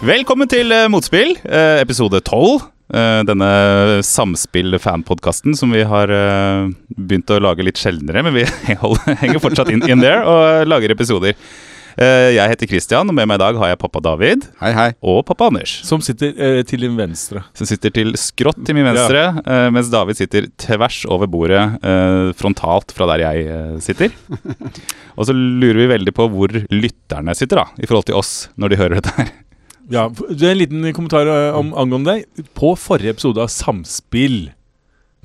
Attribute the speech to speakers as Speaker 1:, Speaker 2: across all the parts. Speaker 1: Velkommen til eh, Motspill, eh, episode 12. eh, Denne Samspill-fanpodkasten som vi har eh, begynt å lage litt sjeldnere, men vi holder, henger fortsatt in, in there og lager episoder. Eh, Jeg heter Christian, og med meg i dag har jeg pappa David
Speaker 2: Hei, hei.
Speaker 1: og pappa Anders.
Speaker 3: Som sitter eh, til din venstre.
Speaker 1: Som sitter til skrått til min venstre, eh, mens David sitter tvers over bordet, eh, frontalt fra der jeg eh, sitter. Og så lurer vi veldig på hvor lytterne sitter, da, i forhold til oss, når de hører dette her.
Speaker 3: Ja, det er En liten kommentar eh, om, angående deg. På forrige episode av Samspill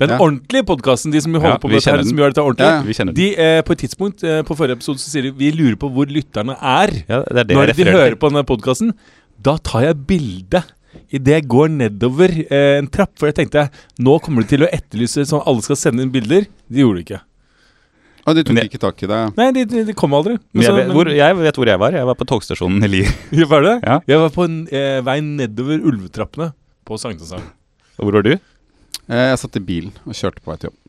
Speaker 3: Den
Speaker 2: Ja.
Speaker 3: ordentlige podkasten, de som holder
Speaker 1: Ja,
Speaker 3: på
Speaker 1: vi
Speaker 3: med dette,
Speaker 1: kjenner
Speaker 3: her,
Speaker 1: den.
Speaker 3: som gjør dette ordentlig,
Speaker 2: Ja, ja.
Speaker 1: Vi kjenner
Speaker 3: de eh, på et tidspunkt eh, på forrige episode så sier de vi lurer på hvor lytterne er
Speaker 1: Ja, det er det
Speaker 3: når
Speaker 1: jeg
Speaker 3: de
Speaker 1: refererer
Speaker 3: hører på denne podkasten. Da tar jeg bilde idet jeg går nedover eh, en trapp, for jeg tenkte nå kommer de til å etterlyse sånn alle skal sende inn bilder. De gjorde det ikke.
Speaker 2: Og de tok
Speaker 1: Men jeg-
Speaker 2: ikke tak i deg.
Speaker 3: Nei, de, de, de kom aldri.
Speaker 1: Men jeg,
Speaker 3: så-
Speaker 1: vet, hvor, jeg vet hvor jeg var. Jeg var på togstasjonen i Lier.
Speaker 3: Ja, Var det?
Speaker 1: Ja.
Speaker 3: Jeg var på en eh, vei nedover ulvetrappene på Sankthanshavn.
Speaker 1: Og hvor var du?
Speaker 2: Eh, Jeg satt i bilen og kjørte på vei til jobb.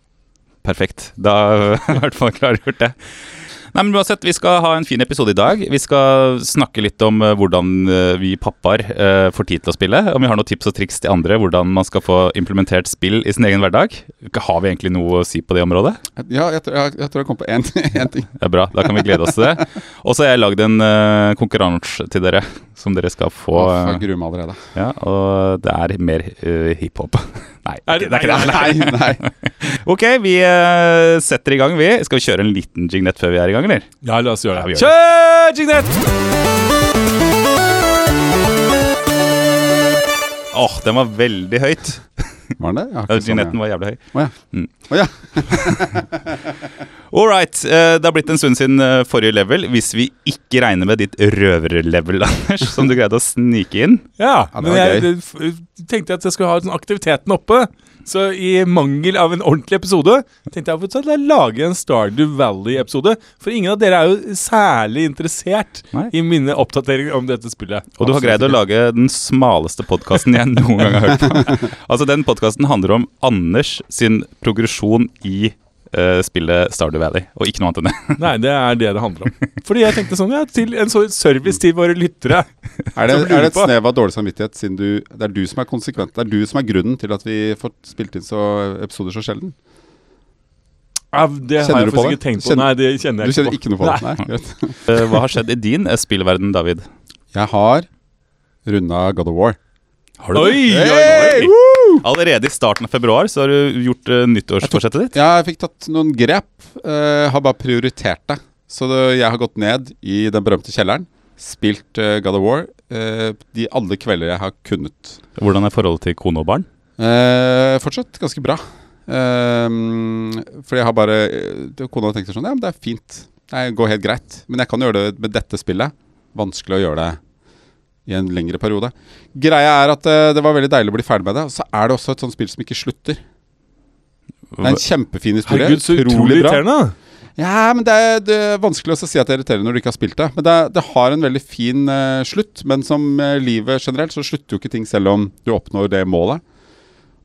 Speaker 1: Perfekt. Da har jeg i hvert fall klargjort det. Nei, men uansett, Vi skal ha en fin episode i dag. Vi skal snakke litt om eh, hvordan eh, vi pappaer eh, får tid til å spille. Om vi har noen tips og triks til andre hvordan man skal få implementert spill i sin egen hverdag. Har vi egentlig noe å si på det området?
Speaker 2: Ja, jeg, tror- jeg, jeg tror jeg kom på én én ting.
Speaker 1: Det er bra, Da kan vi glede oss til det. Og så har jeg lagd en eh, konkurranse til dere som dere skal få.
Speaker 2: Åh, jeg
Speaker 1: eh,
Speaker 2: gruer meg allerede.
Speaker 1: ja, og det er mer eh, hiphop. Nei,
Speaker 3: Er det-
Speaker 1: det er ikke det.
Speaker 2: Nei, nei.
Speaker 1: Ok, vi eh, setter i gang, vi. Skal vi kjøre en liten jignett før vi er i gang, eller?
Speaker 3: Ja, la oss gjøre
Speaker 1: Ja, vi
Speaker 3: det.
Speaker 1: gjør
Speaker 3: Kjør, Jignett!
Speaker 1: Åh, den var veldig høyt.
Speaker 2: Var den det? Jeg
Speaker 1: Ja,
Speaker 2: har ikke sånn,
Speaker 1: Jignetten var jævlig høy.
Speaker 2: Å ja.
Speaker 1: Mm.
Speaker 2: Å ja.
Speaker 1: All right. eh, det har blitt en stund siden eh, forrige level, hvis vi ikke regner med ditt røverlevel, Anders, som du greide å snike inn.
Speaker 3: Ja,
Speaker 2: Ja, det
Speaker 3: men
Speaker 2: var
Speaker 3: jeg det, f- eh, tenkte at jeg skulle ha sånn aktiviteten oppe. Så i mangel av en ordentlig episode tenkte jeg at jeg lage en Stardew Valley-episode. For ingen av dere er jo særlig interessert
Speaker 1: Nei.
Speaker 3: i mine oppdateringer om dette spillet.
Speaker 1: Og du har greid å lage den smaleste podkasten jeg noen gang har hørt på. Altså, den podkasten handler om Anders sin progresjon i eh, spillet Stardew Valley, og ikke noe annet enn det.
Speaker 3: Nei, det er det det handler om. Fordi jeg tenkte sånn, ja, til en sånn service til våre lyttere.
Speaker 2: Er, det,
Speaker 3: Som lurer
Speaker 2: er det et
Speaker 3: på.
Speaker 2: snev av dårlig samvittighet, siden du Det er du som er konsekvent. Det er du som er grunnen til at vi får spilt inn så episoder så sjelden.
Speaker 3: Ja, det
Speaker 2: Kjenner
Speaker 3: har
Speaker 2: du
Speaker 3: jeg
Speaker 2: på
Speaker 3: faktisk
Speaker 2: det?
Speaker 3: ikke tenkt på.
Speaker 2: Kjenner-
Speaker 3: Nei, det kjenner
Speaker 2: Du
Speaker 3: jeg
Speaker 2: kjenner ikke noe på det?
Speaker 3: Nei.
Speaker 2: Nei, greit.
Speaker 1: Eh, hva har skjedd i din eh, spillverden, David?
Speaker 2: Jeg har runda God of War.
Speaker 1: Har
Speaker 3: Oi, oi,
Speaker 2: Hey,
Speaker 3: oi!
Speaker 2: woo!
Speaker 1: Allerede i starten av februar så har du gjort eh, nyttårsforsettet ditt.
Speaker 2: Ja, jeg fikk tatt noen grep. eh, har bare prioritert det. Så det, jeg har gått ned i den berømte kjelleren, spilt eh, God of War eh, de alle kvelder jeg har kunnet.
Speaker 1: Hvordan er forholdet til kone og barn?
Speaker 2: Eh, fortsatt ganske bra. Um, fordi jeg har bare eh, Kona tenkte sånn Ja, men det er fint. Det går helt greit. Men jeg kan gjøre det med dette spillet. Vanskelig å gjøre det i en lengre periode. Greia er at eh, det var veldig deilig å bli ferdig med det. Og så er det også et sånt spill som ikke slutter. Det er en kjempefin historie.
Speaker 3: Herregud, så utrolig irriterende.
Speaker 2: Ja, men det er, det er vanskelig også å si at det er irriterende når du ikke har spilt det. Men det, er- det har en veldig fin eh, slutt. Men som eh, livet generelt, så slutter jo ikke ting selv om du oppnår det målet.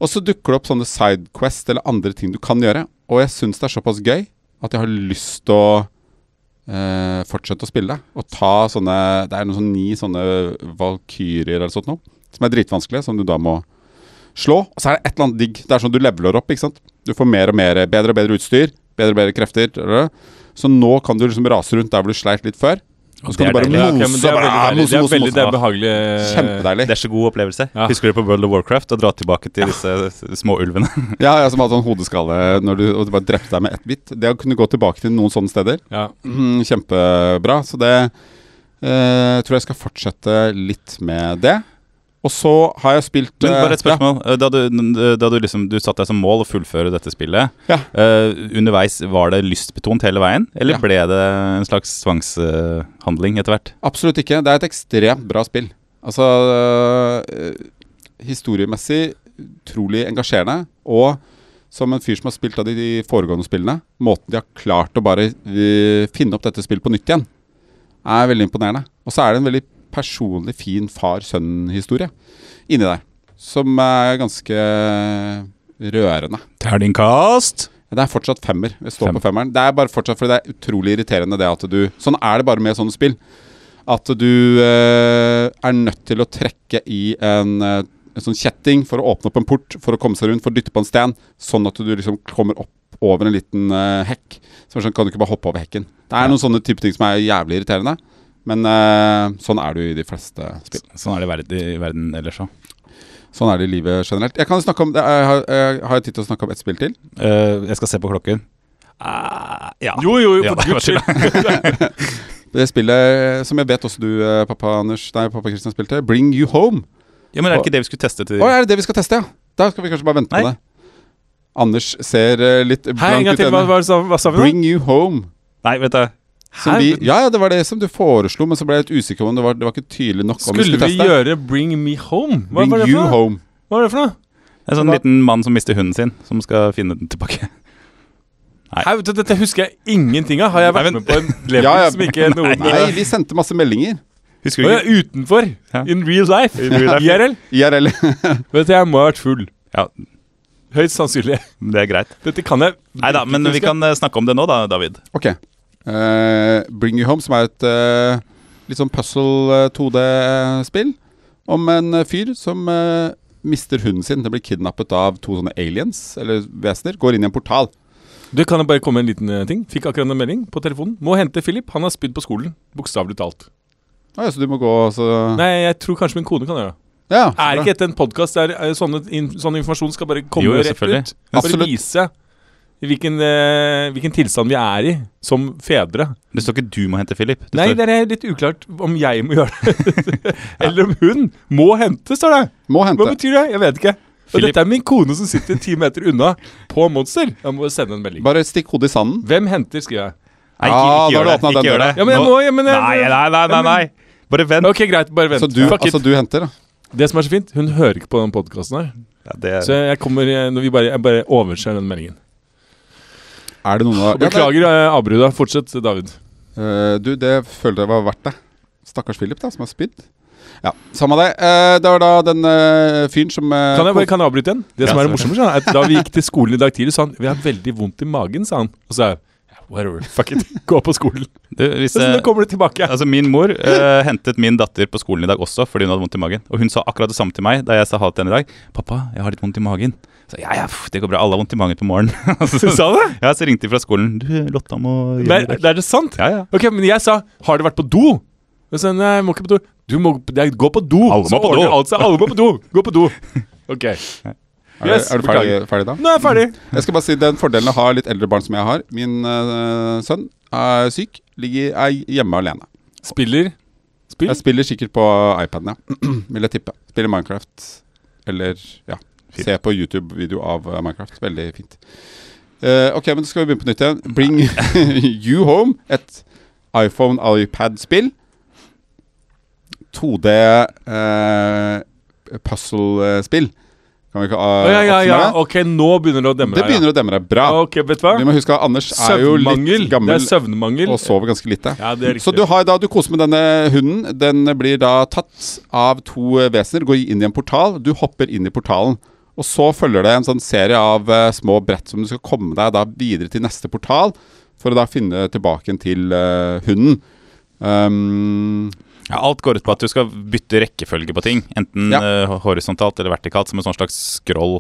Speaker 2: Og så dukker det opp sånne sidequest eller andre ting du kan gjøre. Og jeg syns det er såpass gøy at jeg har lyst til å eh, fortsette å spille. Og ta sånne Det er noen sånne ni sånne valkyrjer eller sånt noe. Som er dritvanskelige, som du da må slå. Og så er det et eller annet digg. Det er sånn du leveler opp, ikke sant. Du får mer og mer, bedre og bedre utstyr. Bedre og bedre krefter. eller? Så nå kan du liksom rase rundt der hvor du sleit litt før. Og så
Speaker 1: Det
Speaker 2: kan
Speaker 1: er
Speaker 2: du bare
Speaker 1: deilig.
Speaker 3: Ja, ok,
Speaker 2: mose
Speaker 3: men det er veldig
Speaker 2: bra,
Speaker 3: deilig.
Speaker 2: mose,
Speaker 3: Det er
Speaker 2: mose,
Speaker 3: veldig det
Speaker 2: mose.
Speaker 3: er behagelig.
Speaker 2: Kjempedeilig.
Speaker 1: Det er så god opplevelse.
Speaker 3: Ja.
Speaker 1: Husker du på World of Warcraft å dra tilbake til disse s- små ulvene?
Speaker 2: Ja, jeg som hadde sånn hodeskalle når du, og du bare drepte deg med ett bitt. Det å kunne gå tilbake til noen sånne steder,
Speaker 3: Ja.
Speaker 2: mm, kjempebra. Så det eh, tror jeg skal fortsette litt med det. Og så har jeg spilt
Speaker 1: Men
Speaker 2: eh,
Speaker 1: bare et spørsmål. Da du, da du liksom du satte deg som mål å fullføre dette spillet,
Speaker 2: Ja.
Speaker 1: eh, underveis var det lystbetont hele veien, eller
Speaker 2: Ja.
Speaker 1: ble det en slags tvangshandling etter hvert?
Speaker 2: Ja, absolutt ikke. Det er et ekstremt bra spill. Altså eh, historiemessig utrolig engasjerende. Og som en fyr som har spilt av de- de foregående spillene, måten de har klart å bare eh, finne opp dette spillet på nytt igjen, er veldig imponerende. Og så er det en veldig personlig fin far-sønn-historie inni der, som er ganske rørende.
Speaker 1: Terningkast!
Speaker 2: Det er fortsatt femmer. Vi står
Speaker 1: Fem.
Speaker 2: på femmeren. Det er bare fortsatt fordi det er utrolig irriterende det at du Sånn er det bare med sånne spill. at du eh, er nødt til å trekke i en, eh, en sånn kjetting for å åpne opp en port, for å komme seg rundt, for å dytte på en stand, sånn at du liksom kommer opp over en liten eh, hekk. Så er det sånn, kan du ikke bare hoppe over hekken. Det er noen sånne type ting som er jævlig irriterende, men eh, sånn er det jo i de fleste spill.
Speaker 1: Sånn er det i verden, i verden ellers òg.
Speaker 2: Sånn er det i livet generelt. Jeg kan snakke om, det, jeg har, jeg har tid til å snakke om ett spill til?
Speaker 1: Eh, jeg skal se på klokken. Ah, ja.
Speaker 3: Jo, jo, jo,
Speaker 1: Ja,
Speaker 3: for guds
Speaker 1: jeg
Speaker 3: skyld.
Speaker 2: Det spillet som jeg vet også du, eh, pappa Anders Nei, pappa Kristian spilte, Bring You Home.
Speaker 1: ja, Men er det ikke det vi skulle teste til
Speaker 2: Å, er det det vi skal teste, ja? Da skal vi kanskje bare vente
Speaker 1: Nei.
Speaker 2: på det. Anders ser eh, litt
Speaker 3: Hei, en
Speaker 2: blank
Speaker 3: gang
Speaker 2: ut i
Speaker 3: til. Hva,
Speaker 2: øynene.
Speaker 3: hva, sa- hva sa vi nå?
Speaker 2: Bring You Home.
Speaker 1: Nei, vet du.
Speaker 2: Som
Speaker 3: Hæ?
Speaker 2: vi, ja, ja, det var det som du foreslo, men så ble jeg litt usikker om det var, det var ikke tydelig nok om vi
Speaker 3: Skulle
Speaker 2: skulle
Speaker 3: vi
Speaker 2: teste.
Speaker 3: gjøre 'Bring me home'? Hva
Speaker 2: Bring
Speaker 3: var det
Speaker 2: You
Speaker 3: for noe?
Speaker 2: Home.
Speaker 3: Hva var det for noe?
Speaker 1: En sånn
Speaker 3: Hva?
Speaker 1: liten mann som mister hunden sin, som skal finne den tilbake. Nei.
Speaker 3: Nei, vet du, Dette husker jeg ingenting av. Har jeg
Speaker 1: Nei,
Speaker 3: vært
Speaker 1: men-
Speaker 3: med på en level
Speaker 2: Ja, ja,
Speaker 3: som ikke noen
Speaker 2: Nei, vi sendte masse meldinger.
Speaker 1: Husker
Speaker 3: Og
Speaker 1: du
Speaker 3: jeg
Speaker 1: ikke?
Speaker 3: er utenfor.
Speaker 1: Ja.
Speaker 3: In real life.
Speaker 1: In real life.
Speaker 3: IRL.
Speaker 2: IRL.
Speaker 3: Vet du, jeg må ha vært full.
Speaker 1: Ja.
Speaker 3: Høyst sannsynlig.
Speaker 1: Det er greit.
Speaker 3: Dette kan jeg.
Speaker 1: Nei da, men vi
Speaker 3: husker.
Speaker 1: kan eh, snakke om det nå, da, David.
Speaker 2: Ok. Eh, Bring You Home, som er et eh, litt sånn puzzle 2D-spill eh, om en eh, fyr som eh, mister hunden sin. Den blir kidnappet av to sånne aliens, eller vesener. Går inn i en portal.
Speaker 3: Du kan jeg bare komme med en liten eh, ting. Fikk akkurat en melding på telefonen. Må hente Philip. Han har spydd på skolen. Bokstavelig talt.
Speaker 2: Å ja, så du må gå og så
Speaker 3: Nei, jeg tror kanskje min kone kan gjøre det.
Speaker 2: Ja, så
Speaker 3: Er
Speaker 2: bra.
Speaker 3: ikke dette en podkast der eh, sånne, in, sånn informasjon skal bare komme
Speaker 1: Jo, jo,
Speaker 3: rett
Speaker 1: selvfølgelig.
Speaker 3: ut? Bare
Speaker 2: Absolutt.
Speaker 3: vise hvilken, eh, hvilken tilstand vi er i som fedre.
Speaker 1: Det står ikke 'du må hente Philip'. Det
Speaker 3: Nei,
Speaker 1: står,
Speaker 3: det er litt uklart om jeg må gjøre det. Eller om hun må hente, står det.
Speaker 2: Må
Speaker 3: Hva
Speaker 2: hente.
Speaker 3: betyr det? Jeg vet ikke. Og
Speaker 1: Philip-
Speaker 3: dette er min kone som sitter ti meter unna på Monster. Jeg må sende en melding.
Speaker 2: Bare stikk hodet i sanden.
Speaker 3: Hvem henter, skriver jeg.
Speaker 1: Nei, ikke,
Speaker 2: Ah,
Speaker 1: ikke
Speaker 2: da har
Speaker 1: gjør
Speaker 2: du
Speaker 1: det.
Speaker 2: åpnet
Speaker 1: Ikke
Speaker 2: den
Speaker 1: gjør det.
Speaker 2: døra.
Speaker 3: Ja, men jeg
Speaker 1: Nå-
Speaker 3: må, ja, men jeg,
Speaker 1: Nei, nei, nei, nei, nei. Bare vent.
Speaker 3: Ok, greit. Bare vent.
Speaker 2: Så du,
Speaker 3: Fuck it.
Speaker 2: altså, du henter, da.
Speaker 3: Det som er så fint, hun hører ikke på den podkasten her.
Speaker 1: Ja, det-
Speaker 3: Så jeg kommer eh, når vi bare, jeg bare overser den meldingen.
Speaker 2: Er det noen av Ja, det-
Speaker 3: Beklager eh, avbruda. Fortsett, David.
Speaker 2: Eh, du, det følte jeg var verdt det. Stakkars Philip, da, som har spydd. Ja, samme det. Eh, det var da den eh, fyren som eh,
Speaker 3: Kan jeg, bare, kan jeg avbryte igjen? Det som
Speaker 1: Ja,
Speaker 3: er det morsomme, sånn, er at da vi gikk til skolen i dag tidlig, sa han vi har veldig vondt i magen. sa han Og så er jeg «Ja, whatever, fuck it, gå på skolen.
Speaker 1: Du, hvis,
Speaker 3: Så nå
Speaker 1: eh,
Speaker 3: kommer det tilbake.
Speaker 1: Altså Min mor eh, hentet min datter på skolen i dag også fordi hun hadde vondt i magen. Og hun sa akkurat det samme til meg da jeg sa ha det til henne i dag. 'Pappa, jeg har litt vondt i magen.' Så jeg, ja, ja, pff, det går bra. Alle har vondt i magen på morgenen. Og så-
Speaker 3: Sa han det?
Speaker 1: ja, så ringte de fra skolen. 'Du, Lotta må gjøre
Speaker 3: Nei,
Speaker 1: det i dag.»
Speaker 3: er det sant?
Speaker 1: Ja, ja.
Speaker 3: Ok, men jeg sa Har du vært på do? Jeg sa, Nei, jeg må ikke på do. Du må jeg, gå på do.
Speaker 1: Alle må
Speaker 3: så
Speaker 1: på
Speaker 3: ordner
Speaker 1: do.
Speaker 3: alt seg. Alle må på do. Gå på do. Ok.
Speaker 2: Er, det-
Speaker 3: Yes,
Speaker 2: er du ferdig, ferdig da?
Speaker 3: Nå er jeg ferdig.
Speaker 2: Jeg skal bare si den fordelen å ha litt eldre barn som jeg har. Min eh, sønn er syk, ligger, er hjemme alene.
Speaker 3: Spiller. Spill.
Speaker 2: Jeg spiller sikkert på iPaden, ja. Vil jeg tippe. Spiller Minecraft. Eller ja,
Speaker 1: Fint.
Speaker 2: se på YouTube-video av eh, Minecraft. Veldig fint. Eh, ok, men så skal vi begynne på nytt igjen. Bring You Home, et iPhone iPad-spill. 2D eh, puzzle-spill. Kan vi ikke
Speaker 3: Å,
Speaker 2: uh,
Speaker 3: ja, ja, ja.
Speaker 2: oppsummere?
Speaker 3: Ok, nå begynner det å demme
Speaker 2: Det
Speaker 3: her, ja.
Speaker 2: begynner å demme deg bra.
Speaker 3: Ok, vet du hva?
Speaker 2: Vi må huske at Anders er jo
Speaker 3: Søvnmangel.
Speaker 2: litt
Speaker 3: Det er
Speaker 2: gammel
Speaker 3: søvnmangel.
Speaker 2: og sover ganske lite.
Speaker 3: Ja, det er riktig.
Speaker 2: Så du, har, da, du koser med denne hunden. Den blir da tatt av to eh, vesener, går inn i en portal. Du hopper inn i portalen. Og så følger det en sånn serie av eh, små brett som du skal komme deg da videre til neste portal, for å da finne tilbake til eh, hunden. Um,
Speaker 1: ja, alt går ut på at du skal bytte rekkefølge på ting. Enten
Speaker 2: Ja.
Speaker 1: eh, horisontalt eller vertikalt, som en sånn slags scroll.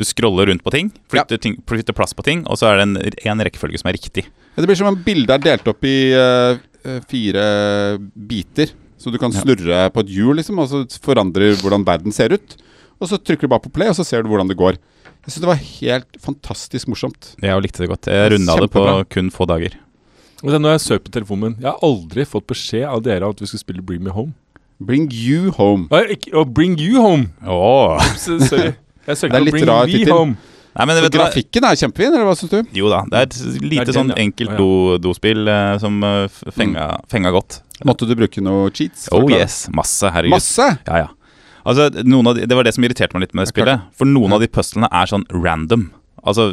Speaker 1: Du scroller rundt på ting, flytter, ting, flytter plass på ting, og så er det en, en rekkefølge som er riktig.
Speaker 2: ja, det blir som om bildet er delt opp i eh, eh, fire biter, så du kan snurre på et hjul, liksom, og så forandrer hvordan verden ser ut. Og så trykker du bare på play, og så ser du hvordan det går. Jeg syns det var helt fantastisk morsomt.
Speaker 1: Jeg likte det godt. Jeg runda det på
Speaker 2: Kjempebra.
Speaker 1: kun få dager.
Speaker 3: Og det er nå jeg søker på telefonen min. Jeg har aldri fått beskjed av dere om at vi skulle spille Bring Me Home.
Speaker 2: Bring you home.
Speaker 3: Nei, ikke- Og Bring You Home.
Speaker 1: Åh.
Speaker 3: Så- Sorry. Jeg søkte
Speaker 2: Det er
Speaker 3: på
Speaker 2: litt
Speaker 3: Bring
Speaker 2: rar
Speaker 3: Me
Speaker 2: tittel.
Speaker 3: Home.
Speaker 1: Nei, men vet du hva?
Speaker 2: Grafikken er kjempefin, eller hva syns du?
Speaker 1: Jo da, det er et lite
Speaker 3: Det er den,
Speaker 1: sånn
Speaker 3: ja.
Speaker 1: enkelt
Speaker 3: Å, ja.
Speaker 1: do- dospill eh, som eh, f-
Speaker 2: Mm.
Speaker 1: fenga, fenga godt.
Speaker 2: Måtte du bruke noe cheats? for å
Speaker 1: Oh
Speaker 2: klare-
Speaker 1: yes, masse, herregud.
Speaker 2: Masse!
Speaker 1: Ja, ja. Altså, noen av de, det var det som irriterte meg litt med det
Speaker 2: Det er
Speaker 1: spillet. For noen av de puzzlene er sånn random. Altså,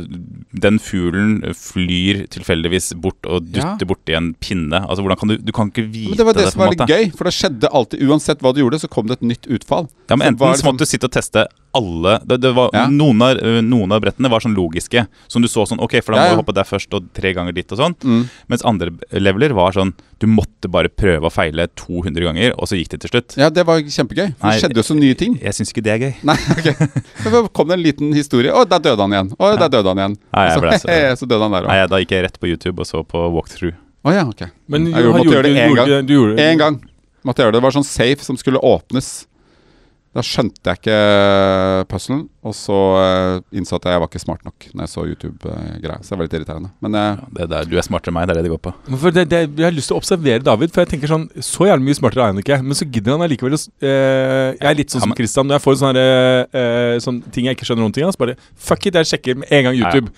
Speaker 1: den fuglen flyr tilfeldigvis bort og
Speaker 2: Ja.
Speaker 1: dytter borti en pinne. Altså, hvordan kan du Du kan ikke vite
Speaker 2: Men det var det, som
Speaker 1: på
Speaker 2: var
Speaker 1: en
Speaker 2: litt
Speaker 1: måte.
Speaker 2: gøy, for det skjedde alltid. Uansett hva du gjorde, så kom det et nytt utfall.
Speaker 1: Ja, men
Speaker 2: Så var
Speaker 1: enten
Speaker 2: det sånn-
Speaker 1: så måtte du sitte og teste alle det, det var,
Speaker 2: Ja.
Speaker 1: noen, av, øh, noen av brettene var sånn logiske. Som du så sånn Ok, for da
Speaker 2: Ja,
Speaker 1: må
Speaker 2: ja.
Speaker 1: du hoppe der først, og tre ganger dit og sånn.
Speaker 2: Mm.
Speaker 1: Mens andre leveler var sånn Du måtte bare prøve og feile 200 ganger, og så gikk det til slutt.
Speaker 2: Ja, det var kjempegøy. for
Speaker 1: Nei,
Speaker 2: Det skjedde jo så nye ting.
Speaker 1: Jeg syns ikke det er gøy.
Speaker 2: Nei, ok. Så kom det en liten historie. Å, der døde han igjen. Å, der døde han igjen.
Speaker 1: Nei, jeg
Speaker 2: så,
Speaker 1: ble så-
Speaker 2: så døde han der
Speaker 1: Nei,
Speaker 2: òg.
Speaker 1: da gikk jeg rett på YouTube og så på walkthrough.
Speaker 2: Å ja, ok.
Speaker 3: Men
Speaker 2: Jeg gjorde- måtte gjøre det én gang.
Speaker 3: Du gjorde,
Speaker 2: Én gang måtte jeg gjøre det. Det var sånn safe som skulle åpnes. Da skjønte jeg ikke eh, puzzlen, og så eh, innså at jeg var ikke smart nok når jeg så YouTube-greia. Så det var litt irriterende. Men eh,
Speaker 1: Det der, du er smartere enn meg, det er det det går på.
Speaker 3: Men For det, det, jeg har lyst til å observere David, for jeg tenker sånn Så jævlig mye smartere er han ikke, men så gidder han allikevel å s- eh, Jeg er litt sånn
Speaker 1: Ja, men-
Speaker 3: som Christian når jeg får sånne, eh, eh, sånne ting jeg ikke skjønner noen ting av. Så bare fuck it, jeg sjekker med en gang
Speaker 1: Ja, ja.
Speaker 3: YouTube.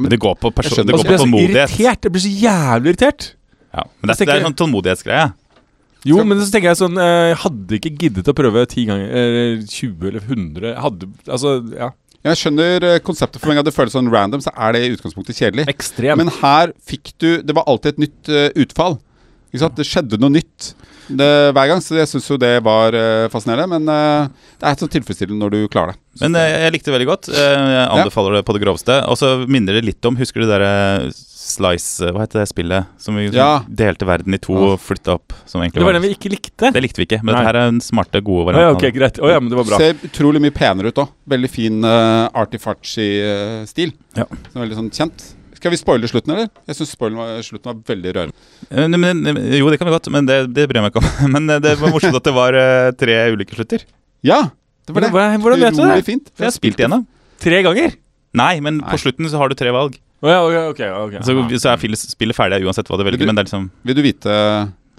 Speaker 1: Men det går på, perso-
Speaker 2: Jeg skjønner
Speaker 1: det
Speaker 3: Og
Speaker 1: går på
Speaker 3: så blir jeg så
Speaker 1: tålmodighet.
Speaker 3: irritert. Jeg blir så jævlig irritert.
Speaker 1: Ja, men det, er- det
Speaker 3: Jeg
Speaker 1: er
Speaker 3: tenker-
Speaker 1: en sånn tålmodighetsgreie.
Speaker 3: Jo,
Speaker 2: Skal-
Speaker 3: men så tenker jeg sånn eh, Hadde ikke giddet å prøve ti ganger, eller 20 eller 100 Hadde Altså, ja.
Speaker 2: jeg skjønner eh, konseptet. For meg at det føles sånn random, så er det i utgangspunktet kjedelig.
Speaker 3: Ekstremt.
Speaker 2: Men her fikk du Det var alltid et nytt eh, utfall. Ikke sant? Det skjedde noe nytt det, hver gang, så jeg syns jo det var eh, fascinerende. Men eh, det er så tilfredsstillende når du klarer det.
Speaker 1: Men eh, jeg likte det veldig godt. Eh, jeg anbefaler det på det groveste. Og så minner det litt om Husker du det derre Slice eh, Hva heter det spillet? Som vi som
Speaker 2: Ja.
Speaker 1: delte verden i to
Speaker 2: Ja.
Speaker 1: og flytta opp. Som egentlig
Speaker 3: Det var
Speaker 1: var
Speaker 3: den vi ikke likte.
Speaker 1: Det likte vi ikke, men
Speaker 3: Nei.
Speaker 1: dette her er den smarte, gode
Speaker 3: Å ja,
Speaker 1: varianten. av
Speaker 3: ok,
Speaker 1: det.
Speaker 3: greit. Å ja, men det var bra.
Speaker 2: Ser utrolig mye penere ut òg. Veldig fin uh, artifarchi-stil.
Speaker 1: Ja.
Speaker 2: Som er veldig sånn kjent. Skal vi spoile slutten, eller? Jeg syns slutten var veldig rørende.
Speaker 1: Eh, men, men- jo, det kan vi godt, men det, det bryr jeg meg ikke om. Men eh, det var morsomt at det var eh, tre ulike slutter.
Speaker 2: Ja! Det var det.
Speaker 3: Hva- Hvordan vet du det?
Speaker 2: Utrolig fint.
Speaker 1: For jeg har spilt igjennom.
Speaker 3: Tre ganger?
Speaker 1: Nei, men
Speaker 2: Nei.
Speaker 1: på slutten så har du tre valg.
Speaker 3: Å ja, ok, ok, ok.
Speaker 1: Så, så er fil- spillet ferdig uansett hva du
Speaker 2: Men du-
Speaker 1: velger. Men, det er liksom,
Speaker 2: Vil du vite,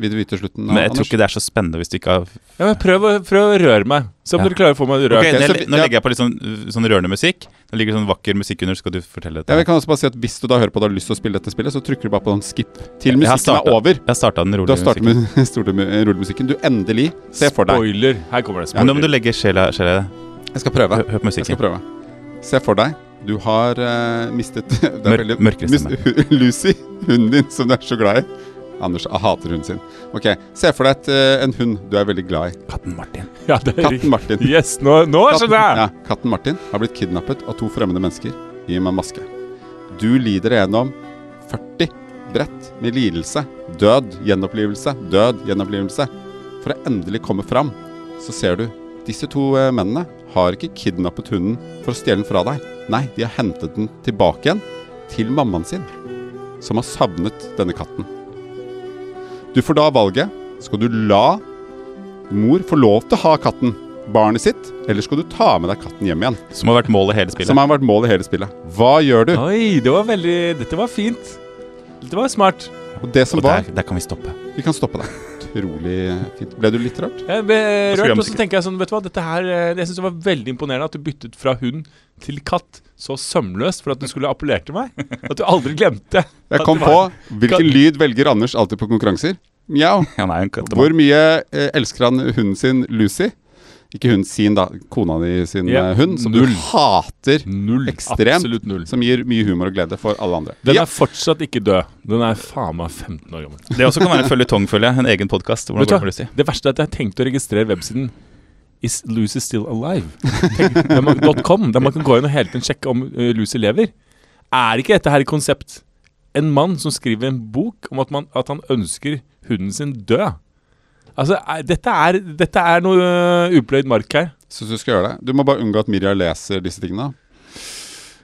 Speaker 2: vil du vite slutten,
Speaker 1: men jeg tror
Speaker 2: Anders?
Speaker 1: ikke det er så spennende hvis du ikke har
Speaker 3: Ja, men prøv, å- prøv å røre meg. Se om
Speaker 1: Ja.
Speaker 3: dere klarer å få meg rørt.
Speaker 1: Ok, nå,
Speaker 2: så vi-
Speaker 1: nå
Speaker 2: ja.
Speaker 1: legger jeg på litt sånn, sånn rørende musikk. Det ligger sånn vakker musikk under, så skal du fortelle dette.
Speaker 2: Jeg kan også bare si at Hvis du da hører på og har lyst til å spille dette spillet, så trykker du bare på sånn skip til
Speaker 1: Jeg har
Speaker 2: musikken
Speaker 1: startet-
Speaker 2: er over.
Speaker 1: Jeg starta den
Speaker 2: Du
Speaker 1: rolige
Speaker 2: har startet
Speaker 1: musikken.
Speaker 2: med startet med rullemusikken. Du endelig ser for deg
Speaker 3: Spoiler. Her kommer det.
Speaker 1: Ja, nå må
Speaker 3: Spoiler.
Speaker 1: du legge sjela sjela i det.
Speaker 2: Jeg skal prøve.
Speaker 1: Hør, hør på
Speaker 2: Jeg skal
Speaker 1: musikken.
Speaker 2: prøve. Se for deg. Du har eh, mistet det er
Speaker 1: Mørk-
Speaker 2: veldig-
Speaker 1: mørkere
Speaker 2: mis-
Speaker 1: stemme.
Speaker 2: hu- Lucy, hunden din som du er så glad i. Anders ah, hater hunden sin. Ok, Se for deg et, eh, en hund du er veldig glad i.
Speaker 1: Katten Martin.
Speaker 3: Ja, det er
Speaker 2: Katten
Speaker 3: riktig.
Speaker 2: Martin.
Speaker 3: Yes, nå, nå
Speaker 2: Katten,
Speaker 3: skjønner jeg!
Speaker 2: ja, katten Martin har blitt kidnappet av to fremmede mennesker i en maske. Du lider gjennom 40 brett med lidelse, død, gjenopplivelse, død, gjenopplivelse. For å endelig komme fram, så ser du disse to eh, mennene har ikke kidnappet hunden for å stjele den fra deg. Nei, de har hentet den tilbake igjen til mammaen sin, som har savnet denne katten. Du får da valget. Skal du la mor får lov til å ha katten, barnet sitt, eller skal du ta med deg katten hjem igjen?
Speaker 1: Som har vært målet hele spillet.
Speaker 2: Som har vært målet i hele spillet. Hva gjør du?
Speaker 3: Oi, det var veldig Dette var fint. Dette var smart.
Speaker 2: Og det som
Speaker 1: Og
Speaker 2: var
Speaker 1: der, der kan vi stoppe.
Speaker 2: Vi kan stoppe deg. Utrolig fint. Ble du litt rørt?
Speaker 3: Jeg ble
Speaker 1: skulle jeg
Speaker 3: rørt, eh, og
Speaker 1: musikken.
Speaker 3: så tenker jeg sånn, vet du hva, dette her eh, Jeg syns det var veldig imponerende at du byttet fra hund til katt så sømløst for at du skulle appellere til meg. At du aldri glemte.
Speaker 2: Jeg
Speaker 3: at
Speaker 2: kom
Speaker 3: det
Speaker 2: på
Speaker 3: var-
Speaker 2: hvilken lyd velger Anders alltid på konkurranser? Mjau.
Speaker 1: Han er jo en katt.
Speaker 2: Hvor mye eh, elsker han hunden sin Lucy? Ikke hunden sin, da. Kona di sin
Speaker 3: Ja,
Speaker 2: eh, hund, som
Speaker 3: null.
Speaker 2: du hater.
Speaker 3: Null.
Speaker 2: Ekstremt.
Speaker 3: Absolutt null.
Speaker 2: Som gir mye humor og glede for alle andre.
Speaker 3: Den
Speaker 2: Ja.
Speaker 3: er fortsatt ikke død. Den er faen meg 15 år gammel.
Speaker 1: Det også kan være en føljetong, føler jeg. En egen podkast.
Speaker 3: Vet
Speaker 1: Hvordan
Speaker 3: du
Speaker 1: går det
Speaker 3: hva?
Speaker 1: med Lucy?
Speaker 3: Det verste er at jeg har tenkt å registrere websiden Is Lucy still alive? der man, .com, der man kan gå inn og hele tiden sjekke om eh, Lucy lever. Er ikke dette her et konsept? En mann som skriver en bok om at, man, at han ønsker hunden sin død. Altså, er, dette, er, dette er noe eh, upløyd mark her.
Speaker 2: Syns du skal gjøre det? Du må bare unngå at Mirja leser disse tingene.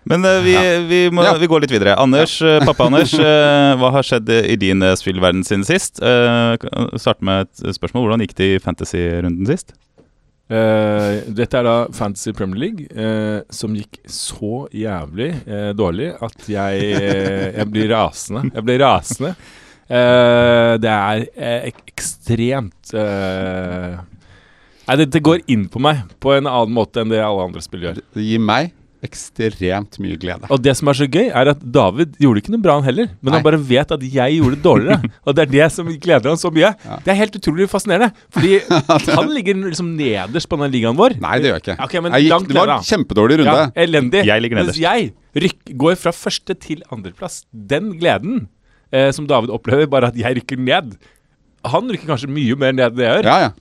Speaker 1: Men eh, vi, vi, må,
Speaker 2: Ja.
Speaker 1: vi går litt videre. Anders, eh, pappa Anders, eh, hva har skjedd i din eh, spillverden siden sist? Eh, kan- Start med et eh, spørsmål. Hvordan gikk det i fantasy-runden sist?
Speaker 3: Eh, dette er da Fantasy Premier League, eh, som gikk så jævlig eh, dårlig at jeg, eh, jeg blir rasende. Jeg blir rasende. Eh, det er eh, ek ekstremt eh, Nei, dette går inn på meg på en annen måte enn det alle andre spill gjør.
Speaker 2: Det det gir meg ekstremt mye glede.
Speaker 3: Og det som er så gøy, er at David gjorde ikke noe bra, han heller. Men
Speaker 2: Nei.
Speaker 3: han bare vet at jeg gjorde det dårligere. og det er det som gleder han så mye.
Speaker 2: Ja.
Speaker 3: Det er helt utrolig fascinerende. Fordi han ligger liksom nederst på den ligaen vår.
Speaker 2: Nei, det gjør jeg ikke.
Speaker 3: Ok, men
Speaker 2: jeg gikk,
Speaker 3: langt
Speaker 2: det var
Speaker 3: ned, da.
Speaker 2: en kjempedårlig runde.
Speaker 3: Ja, elendig.
Speaker 1: Jeg ligger nederst.
Speaker 3: Mens jeg rykk, går fra første til andreplass. Den gleden eh, som David opplever, bare at jeg rykker ned. Han rykker kanskje mye mer ned enn det jeg gjør.
Speaker 2: Ja, ja.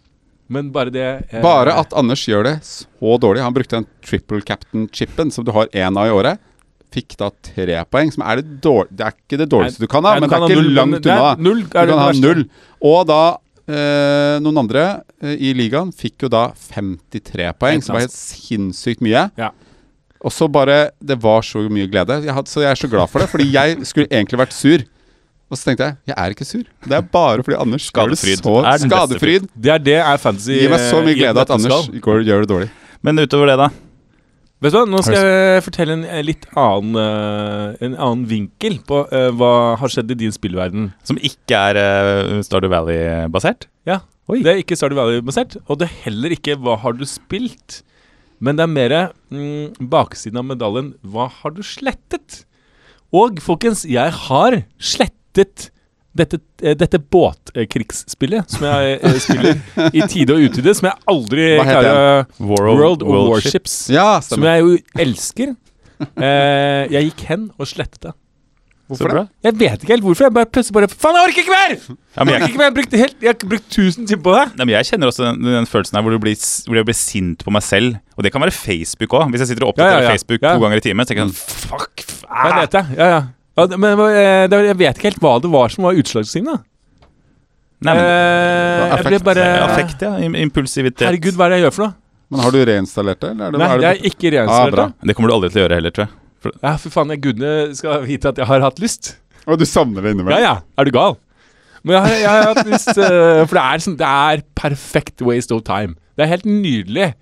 Speaker 3: Men bare det eh,
Speaker 2: Bare at Anders gjør det så dårlig. Han brukte den triple captain-chipen som du har én av i året. Fikk da tre poeng, som er det dårlig Det er ikke det dårligste
Speaker 3: Nei,
Speaker 2: du kan ha,
Speaker 3: nei,
Speaker 2: men det
Speaker 3: kan
Speaker 2: er ikke
Speaker 3: null, men
Speaker 2: langt
Speaker 3: det er
Speaker 2: unna.
Speaker 3: Null
Speaker 2: Du
Speaker 3: er det
Speaker 2: kan ha
Speaker 3: verste.
Speaker 2: null. Og da eh, noen andre eh, i ligaen fikk jo da 53 poeng,
Speaker 3: Helt
Speaker 2: som var helt sinnssykt mye.
Speaker 3: Ja.
Speaker 2: Og så bare Det var så mye glede. Jeg hadde, så jeg er så glad for det, fordi jeg skulle egentlig vært sur. Og så tenkte jeg jeg er ikke sur. Det er bare fordi Anders gjør det
Speaker 1: Skadefryd
Speaker 2: så
Speaker 1: er den beste
Speaker 2: skadefryd.
Speaker 3: Det er det er fantasy
Speaker 2: Gir meg så
Speaker 3: eh,
Speaker 2: mye
Speaker 3: i et
Speaker 2: glede at Anders
Speaker 3: nøtteskall.
Speaker 2: går, gjør det dårlig.
Speaker 1: Men utover det, da?
Speaker 3: Vet du hva, Nå skal jeg fortelle en eh, litt annen eh, En annen vinkel på eh, hva har skjedd i din spillverden.
Speaker 1: Som ikke er eh, Stardew Valley-basert?
Speaker 3: Ja,
Speaker 1: Oi.
Speaker 3: Det er ikke Stardew Valley-basert, og det er heller ikke 'hva har du spilt'? Men det er mer mm, baksiden av medaljen 'hva har du slettet'? Og folkens, jeg har slettet dette, eh, dette båtkrigsspillet som jeg eh, spiller i tide og utide, som jeg aldri
Speaker 2: Hva heter
Speaker 3: klarer å
Speaker 1: War of-
Speaker 3: World of
Speaker 1: Worldship.
Speaker 3: Warships.
Speaker 2: Ja,
Speaker 3: Som
Speaker 2: stemmer.
Speaker 3: jeg jo elsker. Eh, jeg gikk hen og slettet det.
Speaker 1: Så bra.
Speaker 3: Jeg vet ikke helt hvorfor. Jeg bare plutselig bare Faen, jeg orker ikke mer!
Speaker 1: Ja, men
Speaker 3: Jeg orker
Speaker 1: jeg,
Speaker 3: ikke mer, jeg har brukt, helt, jeg har brukt 1000 timer på det.
Speaker 1: Nei, men jeg kjenner også den, den følelsen her hvor, du blir, s- hvor jeg blir sint på meg selv. Og det kan være Facebook òg. Hvis jeg sitter og
Speaker 3: Ja,
Speaker 1: oppdaterer
Speaker 3: ja, ja.
Speaker 1: Facebook
Speaker 3: Ja.
Speaker 1: to ganger i timen, så tenker jeg sånn Fuck! f-
Speaker 3: Jeg
Speaker 1: ah.
Speaker 3: vet det. Ja, ja. Ja, det- men eh, det var- jeg vet ikke helt hva det var som var utslagsgivende.
Speaker 1: Nei, men,
Speaker 3: Eh, jeg ble
Speaker 2: affekt.
Speaker 3: bare
Speaker 1: affekt, ja. Im- Impulsivitet.
Speaker 3: Herregud, hva er det jeg gjør for noe?
Speaker 2: Men har du reinstallert det? Eller er det,
Speaker 3: Nei,
Speaker 2: er
Speaker 3: det
Speaker 2: det,
Speaker 3: er ikke
Speaker 2: Ah,
Speaker 3: reinstallert.
Speaker 2: bra.
Speaker 3: da.
Speaker 1: Det kommer du aldri til å gjøre heller, tror jeg.
Speaker 3: ja, for faen, jeg gudene skal vite at jeg har hatt lyst.
Speaker 2: Å, du savner det
Speaker 3: Ja,
Speaker 2: innimellom?
Speaker 3: ja. Er du gal? Men jeg har, jeg har hatt lyst eh, For det er, sånn, det er perfect waste of time. Det er helt nydelig.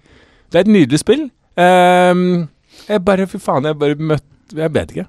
Speaker 3: Det er et nydelig spill. Ehm, jeg bare Fy faen, jeg bare møtte Jeg vet ikke.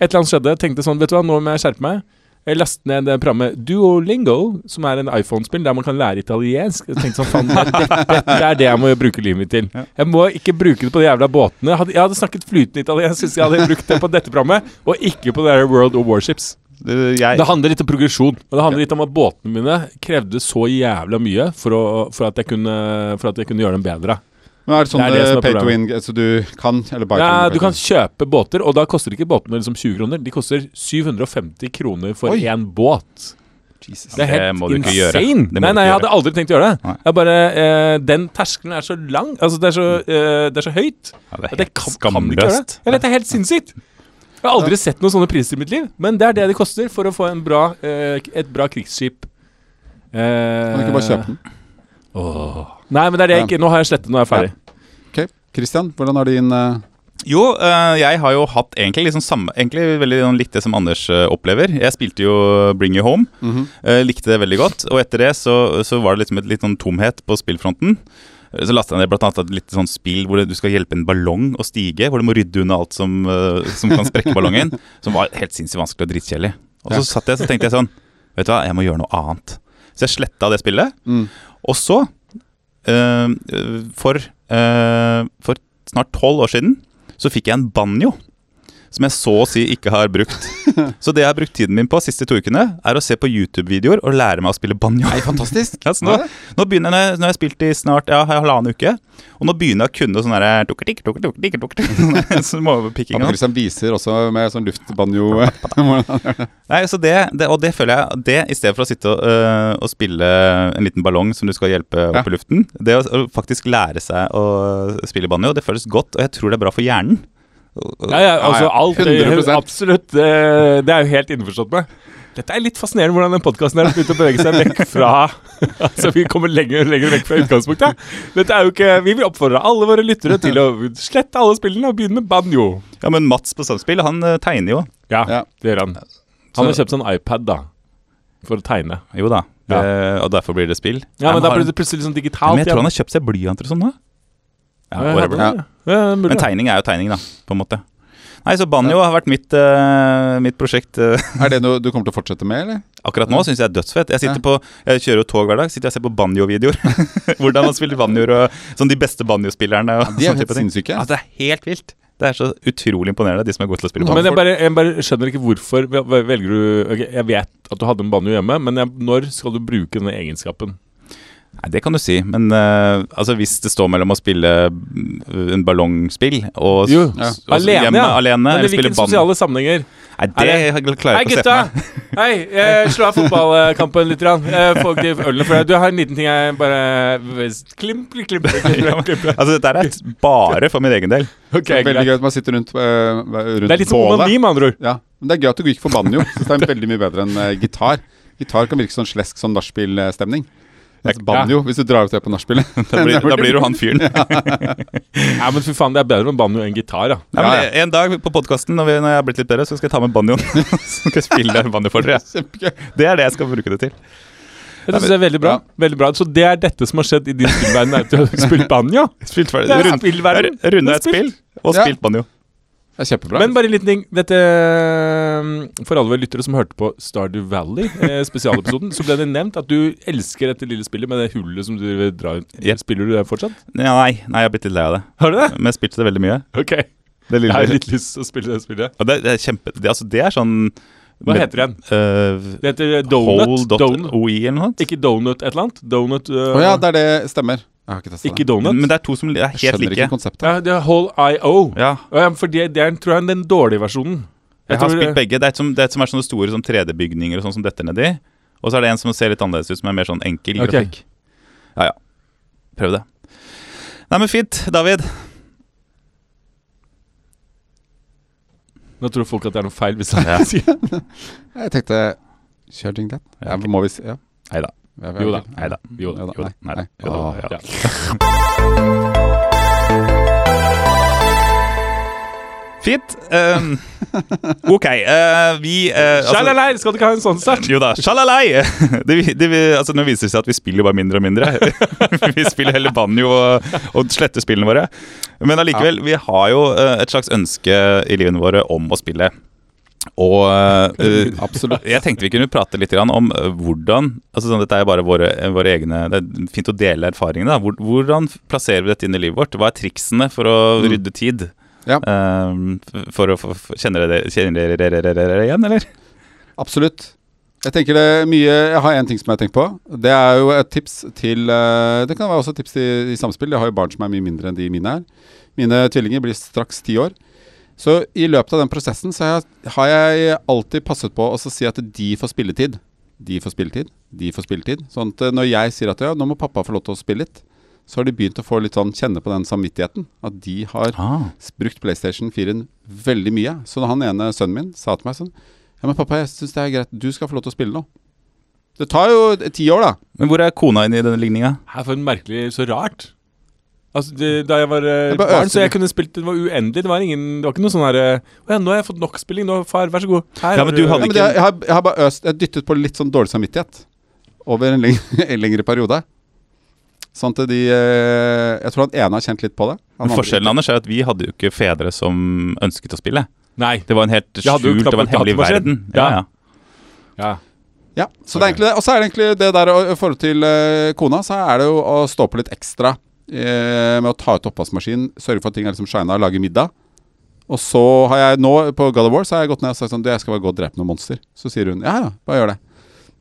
Speaker 3: Et eller annet skjedde. Jeg tenkte sånn, vet du hva, nå må jeg skjerpe meg. Jeg lastet ned det programmet Duolingo, som er en iPhone-spill der man kan lære italiensk. Jeg tenkte sånn, faen, det, er det, det er det jeg må bruke livet mitt til. Jeg må ikke bruke det på de jævla båtene. Jeg hadde, jeg hadde snakket flytende italiensk hvis jeg hadde brukt det på dette programmet, og ikke på det der World of Warships.
Speaker 1: Det- Jeg,
Speaker 3: Det handler litt om progresjon. Og det handler litt om at båtene mine krevde så jævla mye for, å, for, at, jeg kunne, for at jeg kunne gjøre dem bedre.
Speaker 2: Men er det sånn
Speaker 3: Det er det
Speaker 2: eh,
Speaker 3: som er
Speaker 2: pay to win, så du kan eller bare
Speaker 3: Ja, du
Speaker 2: pay
Speaker 3: kan
Speaker 2: to win?
Speaker 3: kjøpe båter, og da koster ikke båtene liksom 20 kroner. De koster 750 kroner for
Speaker 2: Oi.
Speaker 3: én båt.
Speaker 2: Jesus.
Speaker 3: Det er helt
Speaker 1: Det må du ikke gjøre.
Speaker 3: insane.
Speaker 1: Det må
Speaker 3: Nei,
Speaker 1: du
Speaker 3: nei,
Speaker 1: ikke
Speaker 3: jeg hadde aldri tenkt å gjøre det.
Speaker 1: Nei.
Speaker 3: Jeg bare, eh, Den terskelen er så lang, altså det er så,
Speaker 1: Mm.
Speaker 3: eh, det er så høyt.
Speaker 1: ja, det
Speaker 3: At
Speaker 1: er
Speaker 3: jeg
Speaker 1: helt
Speaker 3: kan, kan ikke gjøre det.
Speaker 1: skamløst.
Speaker 3: Jeg vet, det er helt sinnssykt. Jeg har aldri sett noen sånne priser i mitt liv, men det er det det koster for å få en bra, eh, et bra krigsskip.
Speaker 2: Kan du ikke bare kjøpe den?
Speaker 3: Nei, men det er det jeg ikke Nå har jeg slettet, nå er jeg ferdig.
Speaker 2: Ok, Christian, hvordan har din eh,
Speaker 1: Jo, eh, jeg har jo hatt egentlig liksom samme Egentlig veldig sånn litt det som Anders eh, opplever. Jeg spilte jo Bring You Home.
Speaker 3: Mhm.
Speaker 1: eh, likte det veldig godt. Og etter det så, så var det liksom et litt sånn tomhet på spillfronten. Eh, Så lasta jeg ned blant annet et litt sånn spill hvor du skal hjelpe en ballong å stige. Hvor du må rydde unna alt som, eh, som kan sprekke ballongen. Som var helt sinnssykt vanskelig og dritkjedelig. Og så satt jeg så tenkte jeg sånn Vet du hva, jeg må gjøre noe annet. Så jeg sletta det spillet.
Speaker 2: Mm.
Speaker 1: Og så, eh, for, eh, for snart tolv år siden, så fikk jeg en banjo. Som jeg så å si ikke har brukt. Så det jeg har brukt tiden min på de siste to ukene, er å se på YouTube-videoer og lære meg å spille banjo.
Speaker 2: Fantastisk.
Speaker 1: Ja, så nå, nå begynner jeg, nå har jeg spilt i snart ja, halvannen uke, og nå begynner jeg å kunne sånn derre tuk, tuk, tuk, tuk, tuk, tuk, tuk, Sånn
Speaker 2: Anne
Speaker 1: overpikkinga.
Speaker 2: Christian viser også med sånn luftbanjo. Hvordan-
Speaker 1: Nei, så det, det, og det føler jeg at det, i stedet for å sitte og, øh, og spille en liten ballong som du skal hjelpe opp
Speaker 2: Ja.
Speaker 1: i luften, det å, å faktisk lære seg å spille banjo, det føles godt, og jeg tror det er bra for hjernen.
Speaker 3: Ja, ja, altså
Speaker 2: ja,
Speaker 3: alt eh,
Speaker 2: 100%.
Speaker 3: Absolutt. eh, Det er jo helt innforstått med. Dette er litt fascinerende hvordan den podkasten har begynt å bevege seg vekk fra Altså, vi kommer lenger og lenger vekk fra utgangspunktet. Dette er jo ikke Vi vil oppfordre alle våre lyttere til å slette alle spillene og begynne med banjo.
Speaker 1: Ja, men Mats på Samspill, han øh, tegner jo.
Speaker 3: Ja,
Speaker 2: Ja.
Speaker 3: det gjør han. Han har kjøpt seg en iPad, da. For å tegne.
Speaker 1: Jo da. Det, og derfor blir det spill.
Speaker 3: Ja, men
Speaker 1: Han
Speaker 3: da
Speaker 1: har-
Speaker 3: blir det plutselig sånn digitalt.
Speaker 1: men jeg tror
Speaker 3: igjen.
Speaker 1: han har kjøpt seg blyanter og sånn, da. Ja,
Speaker 3: Ja,
Speaker 1: whatever.
Speaker 3: ja, ja, ja, mulig
Speaker 1: Men
Speaker 3: det.
Speaker 1: tegning er jo tegning, da, på en måte. Nei, så banjo har vært mitt, eh, mitt prosjekt. eh.
Speaker 2: Er det noe du kommer til å fortsette med, eller?
Speaker 1: akkurat nå syns jeg er dødsfett. Jeg sitter på, jeg kjører jo tog hver dag, sitter jeg og ser på banjo-videoer. Hvordan man spiller banjoer, og sånn de beste banjospillerne. og
Speaker 2: De er
Speaker 1: sånn
Speaker 2: helt
Speaker 1: type ting.
Speaker 2: sinnssyke.
Speaker 1: Altså, det er helt vilt. Det er så utrolig imponerende, de som er gode til å spille
Speaker 3: Men
Speaker 1: banjo.
Speaker 3: jeg bare, jeg bare skjønner ikke hvorfor vel- vel- velger du ok, Jeg vet at du hadde en banjo hjemme, men jeg, når skal du bruke denne egenskapen?
Speaker 1: Nei, det kan du si, men eh, altså, hvis det står mellom å spille mm, en ballongspill og, s-
Speaker 3: Jo.
Speaker 1: s- og s-
Speaker 3: Alene,
Speaker 1: hjemme,
Speaker 3: ja.
Speaker 1: alene
Speaker 3: Eller
Speaker 1: eller spille
Speaker 3: hvilke
Speaker 1: band.
Speaker 3: sosiale sammenhenger?
Speaker 1: Nei, det klarer
Speaker 3: Hei,
Speaker 1: jeg ikke å se
Speaker 3: gutta!
Speaker 1: for meg.
Speaker 3: Hei, eh, slå av fotballkampen litt. grann. Eh, Få de ølene for deg. Du jeg har en liten ting jeg bare Klimp, klimp, klimp. klimp.
Speaker 1: Altså, dette er et bare for min egen del.
Speaker 3: Ok,
Speaker 2: det er veldig
Speaker 3: greit.
Speaker 2: gøy at man sitter rundt, eh, rundt
Speaker 3: Det er litt som
Speaker 2: bålet.
Speaker 3: onani, med andre ord.
Speaker 2: Ja, men det er gøy at du gikk for banjo. Synes det er veldig mye bedre enn eh, gitar. Gitar kan virke sånn slesk sånn nachspiel-stemning. Mens banjo, hvis du drar ut det på nachspielet
Speaker 1: Da blir, da blir du han fyren.
Speaker 3: Ja, men fy faen, det er bedre med banjo enn gitar, da.
Speaker 1: Nei, men eh,
Speaker 2: Ja, ja.
Speaker 1: En dag på podkasten, når, vi- når jeg har blitt litt bedre, så skal jeg ta med banjoen. så skal jeg spille banjo for dere. jeg.
Speaker 2: Kjempegøy.
Speaker 1: Det er det jeg skal bruke det til.
Speaker 3: Jeg synes det er veldig bra. Veldig bra. Så det er dette som har skjedd i din spillverden? Er at du har spilt banjo?
Speaker 1: Spilt ferdig.
Speaker 3: Det er
Speaker 1: Rund-
Speaker 3: spillverden.
Speaker 1: Runda et
Speaker 3: Spilt.
Speaker 1: spill og
Speaker 2: Ja.
Speaker 1: spilt banjo.
Speaker 2: Det er kjempebra.
Speaker 3: Men bare en liten ting. Dette eh, For alle våre lyttere som hørte på Stardew Valley, eh, spesialepisoden, så ble det nevnt at du elsker dette lille spillet med det hullet som du drar ut.
Speaker 1: Yep.
Speaker 3: Spiller du det fortsatt?
Speaker 1: Ja, nei, nei, jeg har blitt litt lei av det.
Speaker 3: Har du det?
Speaker 1: Men jeg spilte det veldig mye.
Speaker 3: Ok.
Speaker 1: Det
Speaker 3: Jeg har
Speaker 1: lille
Speaker 3: litt lyst til å spille det spillet.
Speaker 1: Og det, det er kjempe det, Altså, det er sånn
Speaker 3: Hva heter det igjen?
Speaker 1: Uh,
Speaker 3: Det heter eh, Donut. Donut.
Speaker 1: Hole.oi eller noe sånt.
Speaker 3: Ikke Donut et eller annet. Donut eh,
Speaker 2: Å ja, det er det stemmer. Jeg har ikke testet
Speaker 3: Ikke
Speaker 2: det.
Speaker 3: Donut.
Speaker 1: Men det er to som li- er helt
Speaker 2: Jeg skjønner ikke
Speaker 1: like.
Speaker 2: konseptet.
Speaker 3: ja, det er Whole IO.
Speaker 1: Ja,
Speaker 3: Ja, for det, det er tror jeg den dårlige versjonen.
Speaker 1: jeg har
Speaker 3: tror- eh,
Speaker 1: spilt begge. Det er et som, det er et som er sånne store som 3D-bygninger og sånn som detter nedi. Og så er det en som ser litt annerledes ut, som er mer sånn enkel
Speaker 3: Ok.
Speaker 1: grafikk. Ja, ja. Prøv det. Nei, men fint, David.
Speaker 3: Nå tror folk at det er noe feil. Hvis jeg
Speaker 1: Ja.
Speaker 3: sier
Speaker 2: Jeg tenkte Kjør Ding That. Ja, men må vi si ja.
Speaker 1: Neida.
Speaker 2: Ja, vi-
Speaker 3: Jo da.
Speaker 1: Nei da.
Speaker 3: Jo
Speaker 2: Jo
Speaker 3: da.
Speaker 2: da.
Speaker 3: Jo da.
Speaker 1: Nei da.
Speaker 2: Nei.
Speaker 1: Jo da,
Speaker 2: Åh.
Speaker 1: ja.
Speaker 3: Ja.
Speaker 1: Fint. ehm, ok, eh, vi eh, altså-
Speaker 3: Sjalalei, skal du ikke ha en sånn start?
Speaker 1: Jo da, sjalalei! Det, det, altså, nå viser det seg at vi spiller jo bare mindre og mindre. vi spiller heller banjo og, og sletter spillene våre. Men allikevel, vi har jo eh, et slags ønske i livene våre om å spille. Og eh,
Speaker 2: Absolutt.
Speaker 1: jeg tenkte vi kunne prate litt grann om eh, hvordan altså sånn, Dette er bare våre, våre egne Det er fint å dele erfaringene. da. Hvor- Hvordan plasserer vi dette inn i livet vårt? Hva er triksene for å
Speaker 2: Mm.
Speaker 1: rydde tid?
Speaker 2: Ja.
Speaker 1: Eh, for å få for- Kjenner dere kjenner dere dere igjen, eller?
Speaker 2: Absolutt. Jeg tenker det er mye Jeg har én ting som jeg har tenkt på. Det er jo et tips til eh, Det kan være også et tips til, i samspill. Jeg har jo barn som er mye mindre enn de mine er. Mine tvillinger blir straks ti år. Så i løpet av den prosessen så har jeg, har jeg alltid passet på å så si at de får spilletid. De får spilletid, de får spilletid. Sånn at eh, når jeg sier at ja, nå må pappa få lov til å spille litt, så har de begynt å få litt sånn kjenne på den samvittigheten. At de har s- brukt PlayStation 4-en veldig mye. Så da han ene sønnen min sa til meg sånn Ja, men pappa, jeg syns det er greit. Du skal få lov til å spille nå. Det tar jo ti år, da.
Speaker 1: Men hvor er kona inne i denne ligninga?
Speaker 3: Her for en merkelig Så rart. Altså, det, da jeg var eh,
Speaker 2: Jeg bare
Speaker 3: barn,
Speaker 2: øser
Speaker 3: så jeg
Speaker 2: litt.
Speaker 3: kunne spilt Det var uendelig. Det var, ingen, det var ikke noe sånn her eh, Å ja, nå har jeg fått nok spilling. Nå, far, vær så god. Her
Speaker 1: Ja,
Speaker 3: har
Speaker 1: men du
Speaker 2: Ja,
Speaker 1: hadde
Speaker 2: men
Speaker 1: ikke-
Speaker 2: det, jeg, har, jeg har bare øst Jeg har dyttet på litt sånn dårlig samvittighet over en lengre, en lengre periode. Sånn at de eh, Jeg tror han ene har kjent litt på det. Han
Speaker 1: Men
Speaker 2: andre
Speaker 1: Forskjellen Anders, er at vi hadde jo ikke fedre som ønsket å spille.
Speaker 3: Nei.
Speaker 1: Det var en helt
Speaker 3: Jeg hadde jo
Speaker 1: skjult, det var en
Speaker 3: knapt
Speaker 1: hemmelig
Speaker 3: datamaskin.
Speaker 1: verden.
Speaker 3: Ja.
Speaker 1: Ja, ja.
Speaker 3: Ja.
Speaker 2: Ja, så det er egentlig det. Og så er det egentlig det der å- i forhold til eh, kona, så er det jo å stå på litt ekstra eh, med å ta ut oppvaskmaskinen, sørge for at ting er liksom shina, lage middag. Og så har jeg nå, på God of War, så har jeg gått ned og sagt sånn Du, jeg skal bare gå og drepe noen monster. Så sier hun ja, ja, bare gjør det.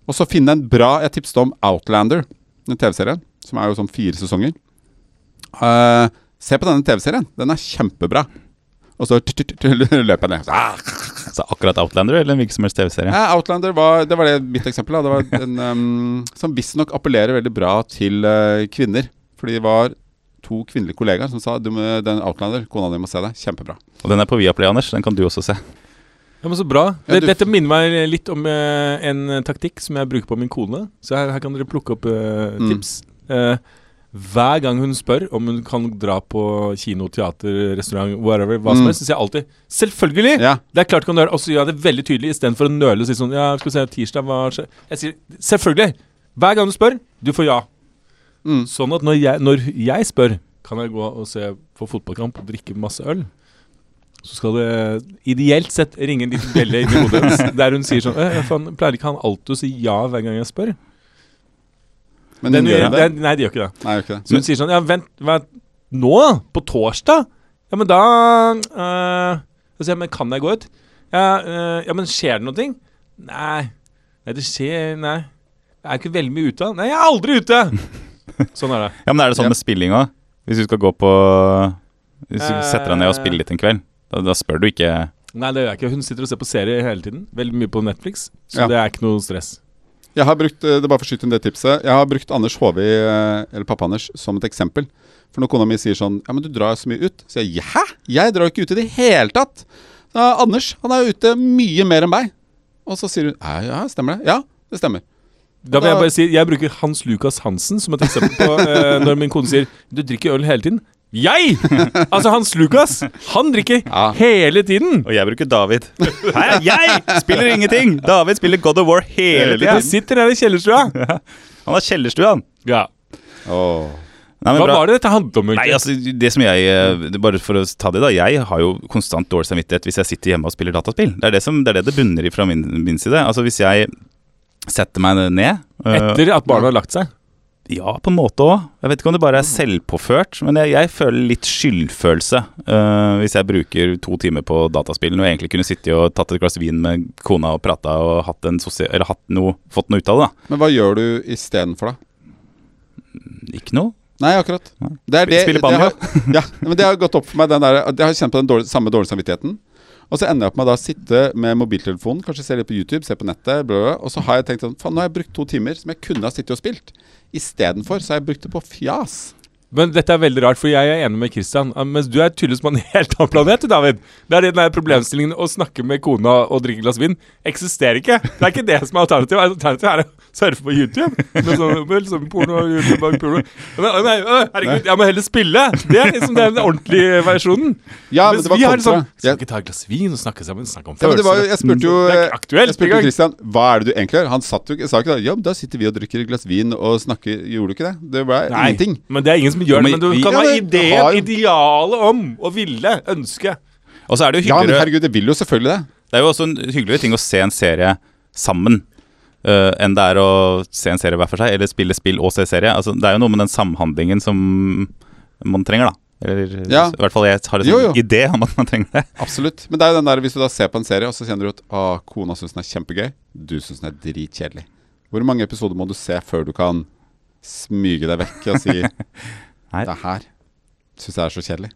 Speaker 2: Og så finne en bra Jeg tipset om Outlander, den TV-serien, som er jo sånn fire sesonger. Eh, se på denne TV-serien. Den er kjempebra. Og så tut, tut, tut, løper jeg ned. Så, Ah,
Speaker 1: Så akkurat Outlander eller en hvilken som helst TV-serie.
Speaker 2: ja, Outlander var, det var det mitt eksempel. Da. Det var en um, som visstnok appellerer veldig bra til eh, kvinner. Fordi det var to kvinnelige kollegaer som sa du må, den Outlander, kona di må se det. Kjempebra.
Speaker 1: Og den er på Viaplay, Anders. Den kan du også se.
Speaker 3: Ja, men Så bra.
Speaker 2: Ja,
Speaker 3: Det,
Speaker 2: du-
Speaker 3: dette minner meg litt om eh, en taktikk som jeg bruker på min kone. Så her, her kan dere plukke opp eh,
Speaker 2: Mm.
Speaker 3: tips. Eh, hver gang hun spør om hun kan dra på kino, teater, restaurant, whatever, hva som
Speaker 2: Mm.
Speaker 3: helst, så sier jeg alltid 'selvfølgelig'!
Speaker 2: Ja,
Speaker 3: Det er klart kan du gjøre Og så gjør jeg det veldig tydelig Istedenfor å nøle og si sånn Ja, skal vi se, tirsdag, hva skjer? Jeg sier selvfølgelig. Hver gang du spør, du får ja.
Speaker 2: mm.
Speaker 3: Sånn at når jeg, når jeg spør, kan jeg gå og se på fotballkamp og drikke masse øl. Så skal det ideelt sett ringe en liten bjelle inni hodet hennes, der hun sier sånn «Øh, ja, faen, Pleier ikke han alltid å si ja hver gang jeg spør?
Speaker 2: Men
Speaker 3: Den
Speaker 2: hun gjør
Speaker 3: gjør,
Speaker 2: det.
Speaker 3: den, nei, de gjør ikke det.
Speaker 2: Nei, gjør ikke det.
Speaker 3: Så hun sier sånn Ja, vent, vent Nå? På torsdag? Ja, men da øh, Så sier jeg, men kan jeg gå ut? Ja, øh, ja men skjer det noe? Nei. Nei, det skjer Nei. Jeg er ikke veldig mye ute. Nei, jeg er aldri ute! Sånn er det.
Speaker 1: Ja, men er det sånn med spilling òg? Hvis du skal gå på Hvis du
Speaker 3: Eh.
Speaker 1: setter deg ned og spiller litt en kveld, da, da spør du ikke
Speaker 3: Nei, det gjør jeg ikke. Hun sitter og ser på serier hele tiden. Veldig mye på Netflix, så
Speaker 2: Ja.
Speaker 3: det er ikke noe stress.
Speaker 2: Jeg har brukt, eh, det er bare for å skyte inn det tipset Jeg har brukt Anders Håvi, eh, eller pappa Anders, som et eksempel. For når kona mi sier sånn Ja, men du drar så mye ut. Så sier jeg hæ? Jeg drar jo ikke ut i det hele tatt. Ja, Anders han er jo ute mye mer enn meg. Og så sier hun ja, ja, stemmer det? Ja, det stemmer.
Speaker 3: Da vil
Speaker 2: Da-
Speaker 3: jeg bare si Jeg bruker Hans Lukas Hansen som et eksempel på eh, når min kone sier 'du drikker øl hele tiden'. Jeg! Altså, Hans Lukas, han drikker
Speaker 2: Ja.
Speaker 3: hele tiden!
Speaker 1: Og jeg bruker David. Hæ, jeg spiller ingenting! David spiller God of War hele tida.
Speaker 3: Jeg sitter her i kjellerstua.
Speaker 1: Han har kjellerstua, han.
Speaker 3: Ja.
Speaker 2: Åh.
Speaker 1: Nei, men
Speaker 3: Hva
Speaker 1: bra.
Speaker 3: var det dette handlet om?
Speaker 1: Nei,
Speaker 3: egentlig?
Speaker 1: altså, det som jeg eh, det- Bare for å ta det, da. Jeg har jo konstant dårlig samvittighet hvis jeg sitter hjemme og spiller dataspill. Det er det som, det, er det, det bunner i fra min, min side. Altså, hvis jeg setter meg ned eh,
Speaker 3: Etter at barna har lagt seg.
Speaker 1: Ja, på en måte òg. Jeg vet ikke om det bare er selvpåført, men jeg, jeg føler litt skyldfølelse eh, hvis jeg bruker to timer på dataspill når jeg egentlig kunne sittet og tatt et glass vin med kona og prata og hatt en sosia eller hatt noe, fått noe ut av det. da.
Speaker 2: Men hva gjør du istedenfor, da?
Speaker 1: Ikke noe.
Speaker 2: Nei, akkurat. Det er det,
Speaker 1: Spille
Speaker 2: det,
Speaker 1: banjo.
Speaker 2: har, ja, men det har gått opp for meg. Den der, jeg har kjent på den dårlig, samme dårlige samvittigheten. Og så ender jeg opp med å da sitte med mobiltelefonen, kanskje se litt på YouTube, se på nettet. Bla, bla, bla. og så har jeg tenkt sånn Faen, nå har jeg brukt to timer som jeg kunne ha sittet og spilt. Istedenfor så har jeg brukt det på fjas.
Speaker 3: Men dette er veldig rart, for jeg er enig med Christian. eh, Mens du er tydeligvis på en helt annen planet, du, David. Det er den der problemstillingen å snakke med kona og drikke et glass vin eksisterer ikke. Det er ikke det som er alternativet. Alternativet er å surfe på YouTube. Med sånn, med sånn porno, YouTube og porno. Men, å nei, å, herregud, jeg må heller spille! Det er liksom den ordentlige versjonen.
Speaker 2: Ja, men
Speaker 3: Mens
Speaker 2: det var
Speaker 3: vi har
Speaker 2: kontra.
Speaker 3: sånn Skal
Speaker 2: Jeg-
Speaker 3: vi ikke ta et glass vin og snakke sammen? Snakke om
Speaker 2: Ja, men det var, jo-
Speaker 3: følelser?
Speaker 2: jeg spurte jo eh,
Speaker 3: Det er ikke aktuelt
Speaker 2: Jeg spurte jo
Speaker 3: engang.
Speaker 2: Christian hva er det du egentlig gjør. Han satt jo, ikke- sa ikke da Ja, men da sitter vi og drikker et glass vin og snakker Gjorde du ikke det? Det ble
Speaker 3: Nei,
Speaker 2: ingenting.
Speaker 3: men det er ingen som gjør det.
Speaker 1: Men
Speaker 3: Men du
Speaker 1: vi-
Speaker 3: kan
Speaker 2: Ja,
Speaker 3: ha
Speaker 2: men-
Speaker 3: ideen,
Speaker 2: har-
Speaker 3: idealet om, å ville, ønske.
Speaker 1: Og så er det jo
Speaker 2: Ja, men
Speaker 1: hyggeligere
Speaker 2: herregud, det vil jo selvfølgelig det.
Speaker 1: Det er jo også en hyggeligere ting å se en serie sammen eh, enn det er å se en serie hver for seg, eller spille spill og se serie. Altså, det er jo noe med den samhandlingen som man trenger, da. Eller
Speaker 2: Ja.
Speaker 1: i hvert fall jeg har en
Speaker 2: Jo, jo.
Speaker 1: sånn idé om at man trenger det.
Speaker 2: Absolutt. Men det er jo den der, hvis du da ser på en serie, og så kjenner du at å, kona syns den er kjempegøy, du syns den er dritkjedelig. Hvor mange episoder må du se før du kan smyge deg vekk og si det her syns jeg er så kjedelig?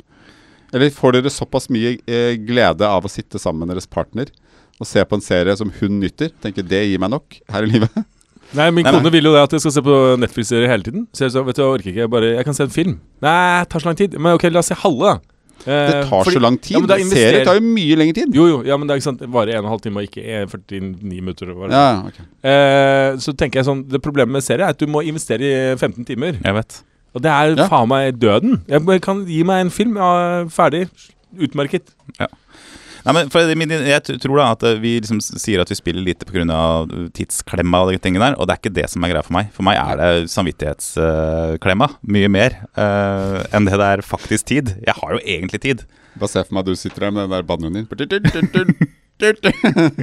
Speaker 2: Eller får dere såpass mye eh, glede av å sitte sammen med deres partner og se på en serie som hun nytter? Tenker det gir meg nok her i livet?
Speaker 3: Nei, min
Speaker 1: Nei,
Speaker 3: kone vil jo det at jeg skal se på Netflix-serier hele tiden. Så jeg sa, vet du, jeg orker ikke, jeg bare Jeg kan se en film. Nei, det tar så lang tid. Men ok, la oss se halve, da. Eh,
Speaker 2: Det tar
Speaker 3: fordi-
Speaker 2: så lang tid.
Speaker 3: Ja, men da investerer-
Speaker 2: Serier tar jo mye lengre tid.
Speaker 3: Jo, jo, ja, men det er ikke sant. Det varer en og en halv time, og ikke eh, 49 minutter. eller hva det er.
Speaker 2: Ja, ok.
Speaker 3: Eh, så tenker jeg sånn Det problemet med serier er at du må investere i 15 timer.
Speaker 1: Jeg vet.
Speaker 3: Og det er
Speaker 2: Ja.
Speaker 3: faen meg døden. Jeg bare kan gi meg en film, ja, ferdig. Utmerket.
Speaker 1: Nei, men for min, jeg t- tror da at eh, vi liksom s- sier at vi spiller lite pga. tidsklemma og de tingene der, og det er ikke det som er greia for meg. For meg er det samvittighetsklemma mye mer eh, enn det det er faktisk tid. Jeg har jo egentlig tid.
Speaker 2: Bare se for meg at du sitter der med den der banjoen din.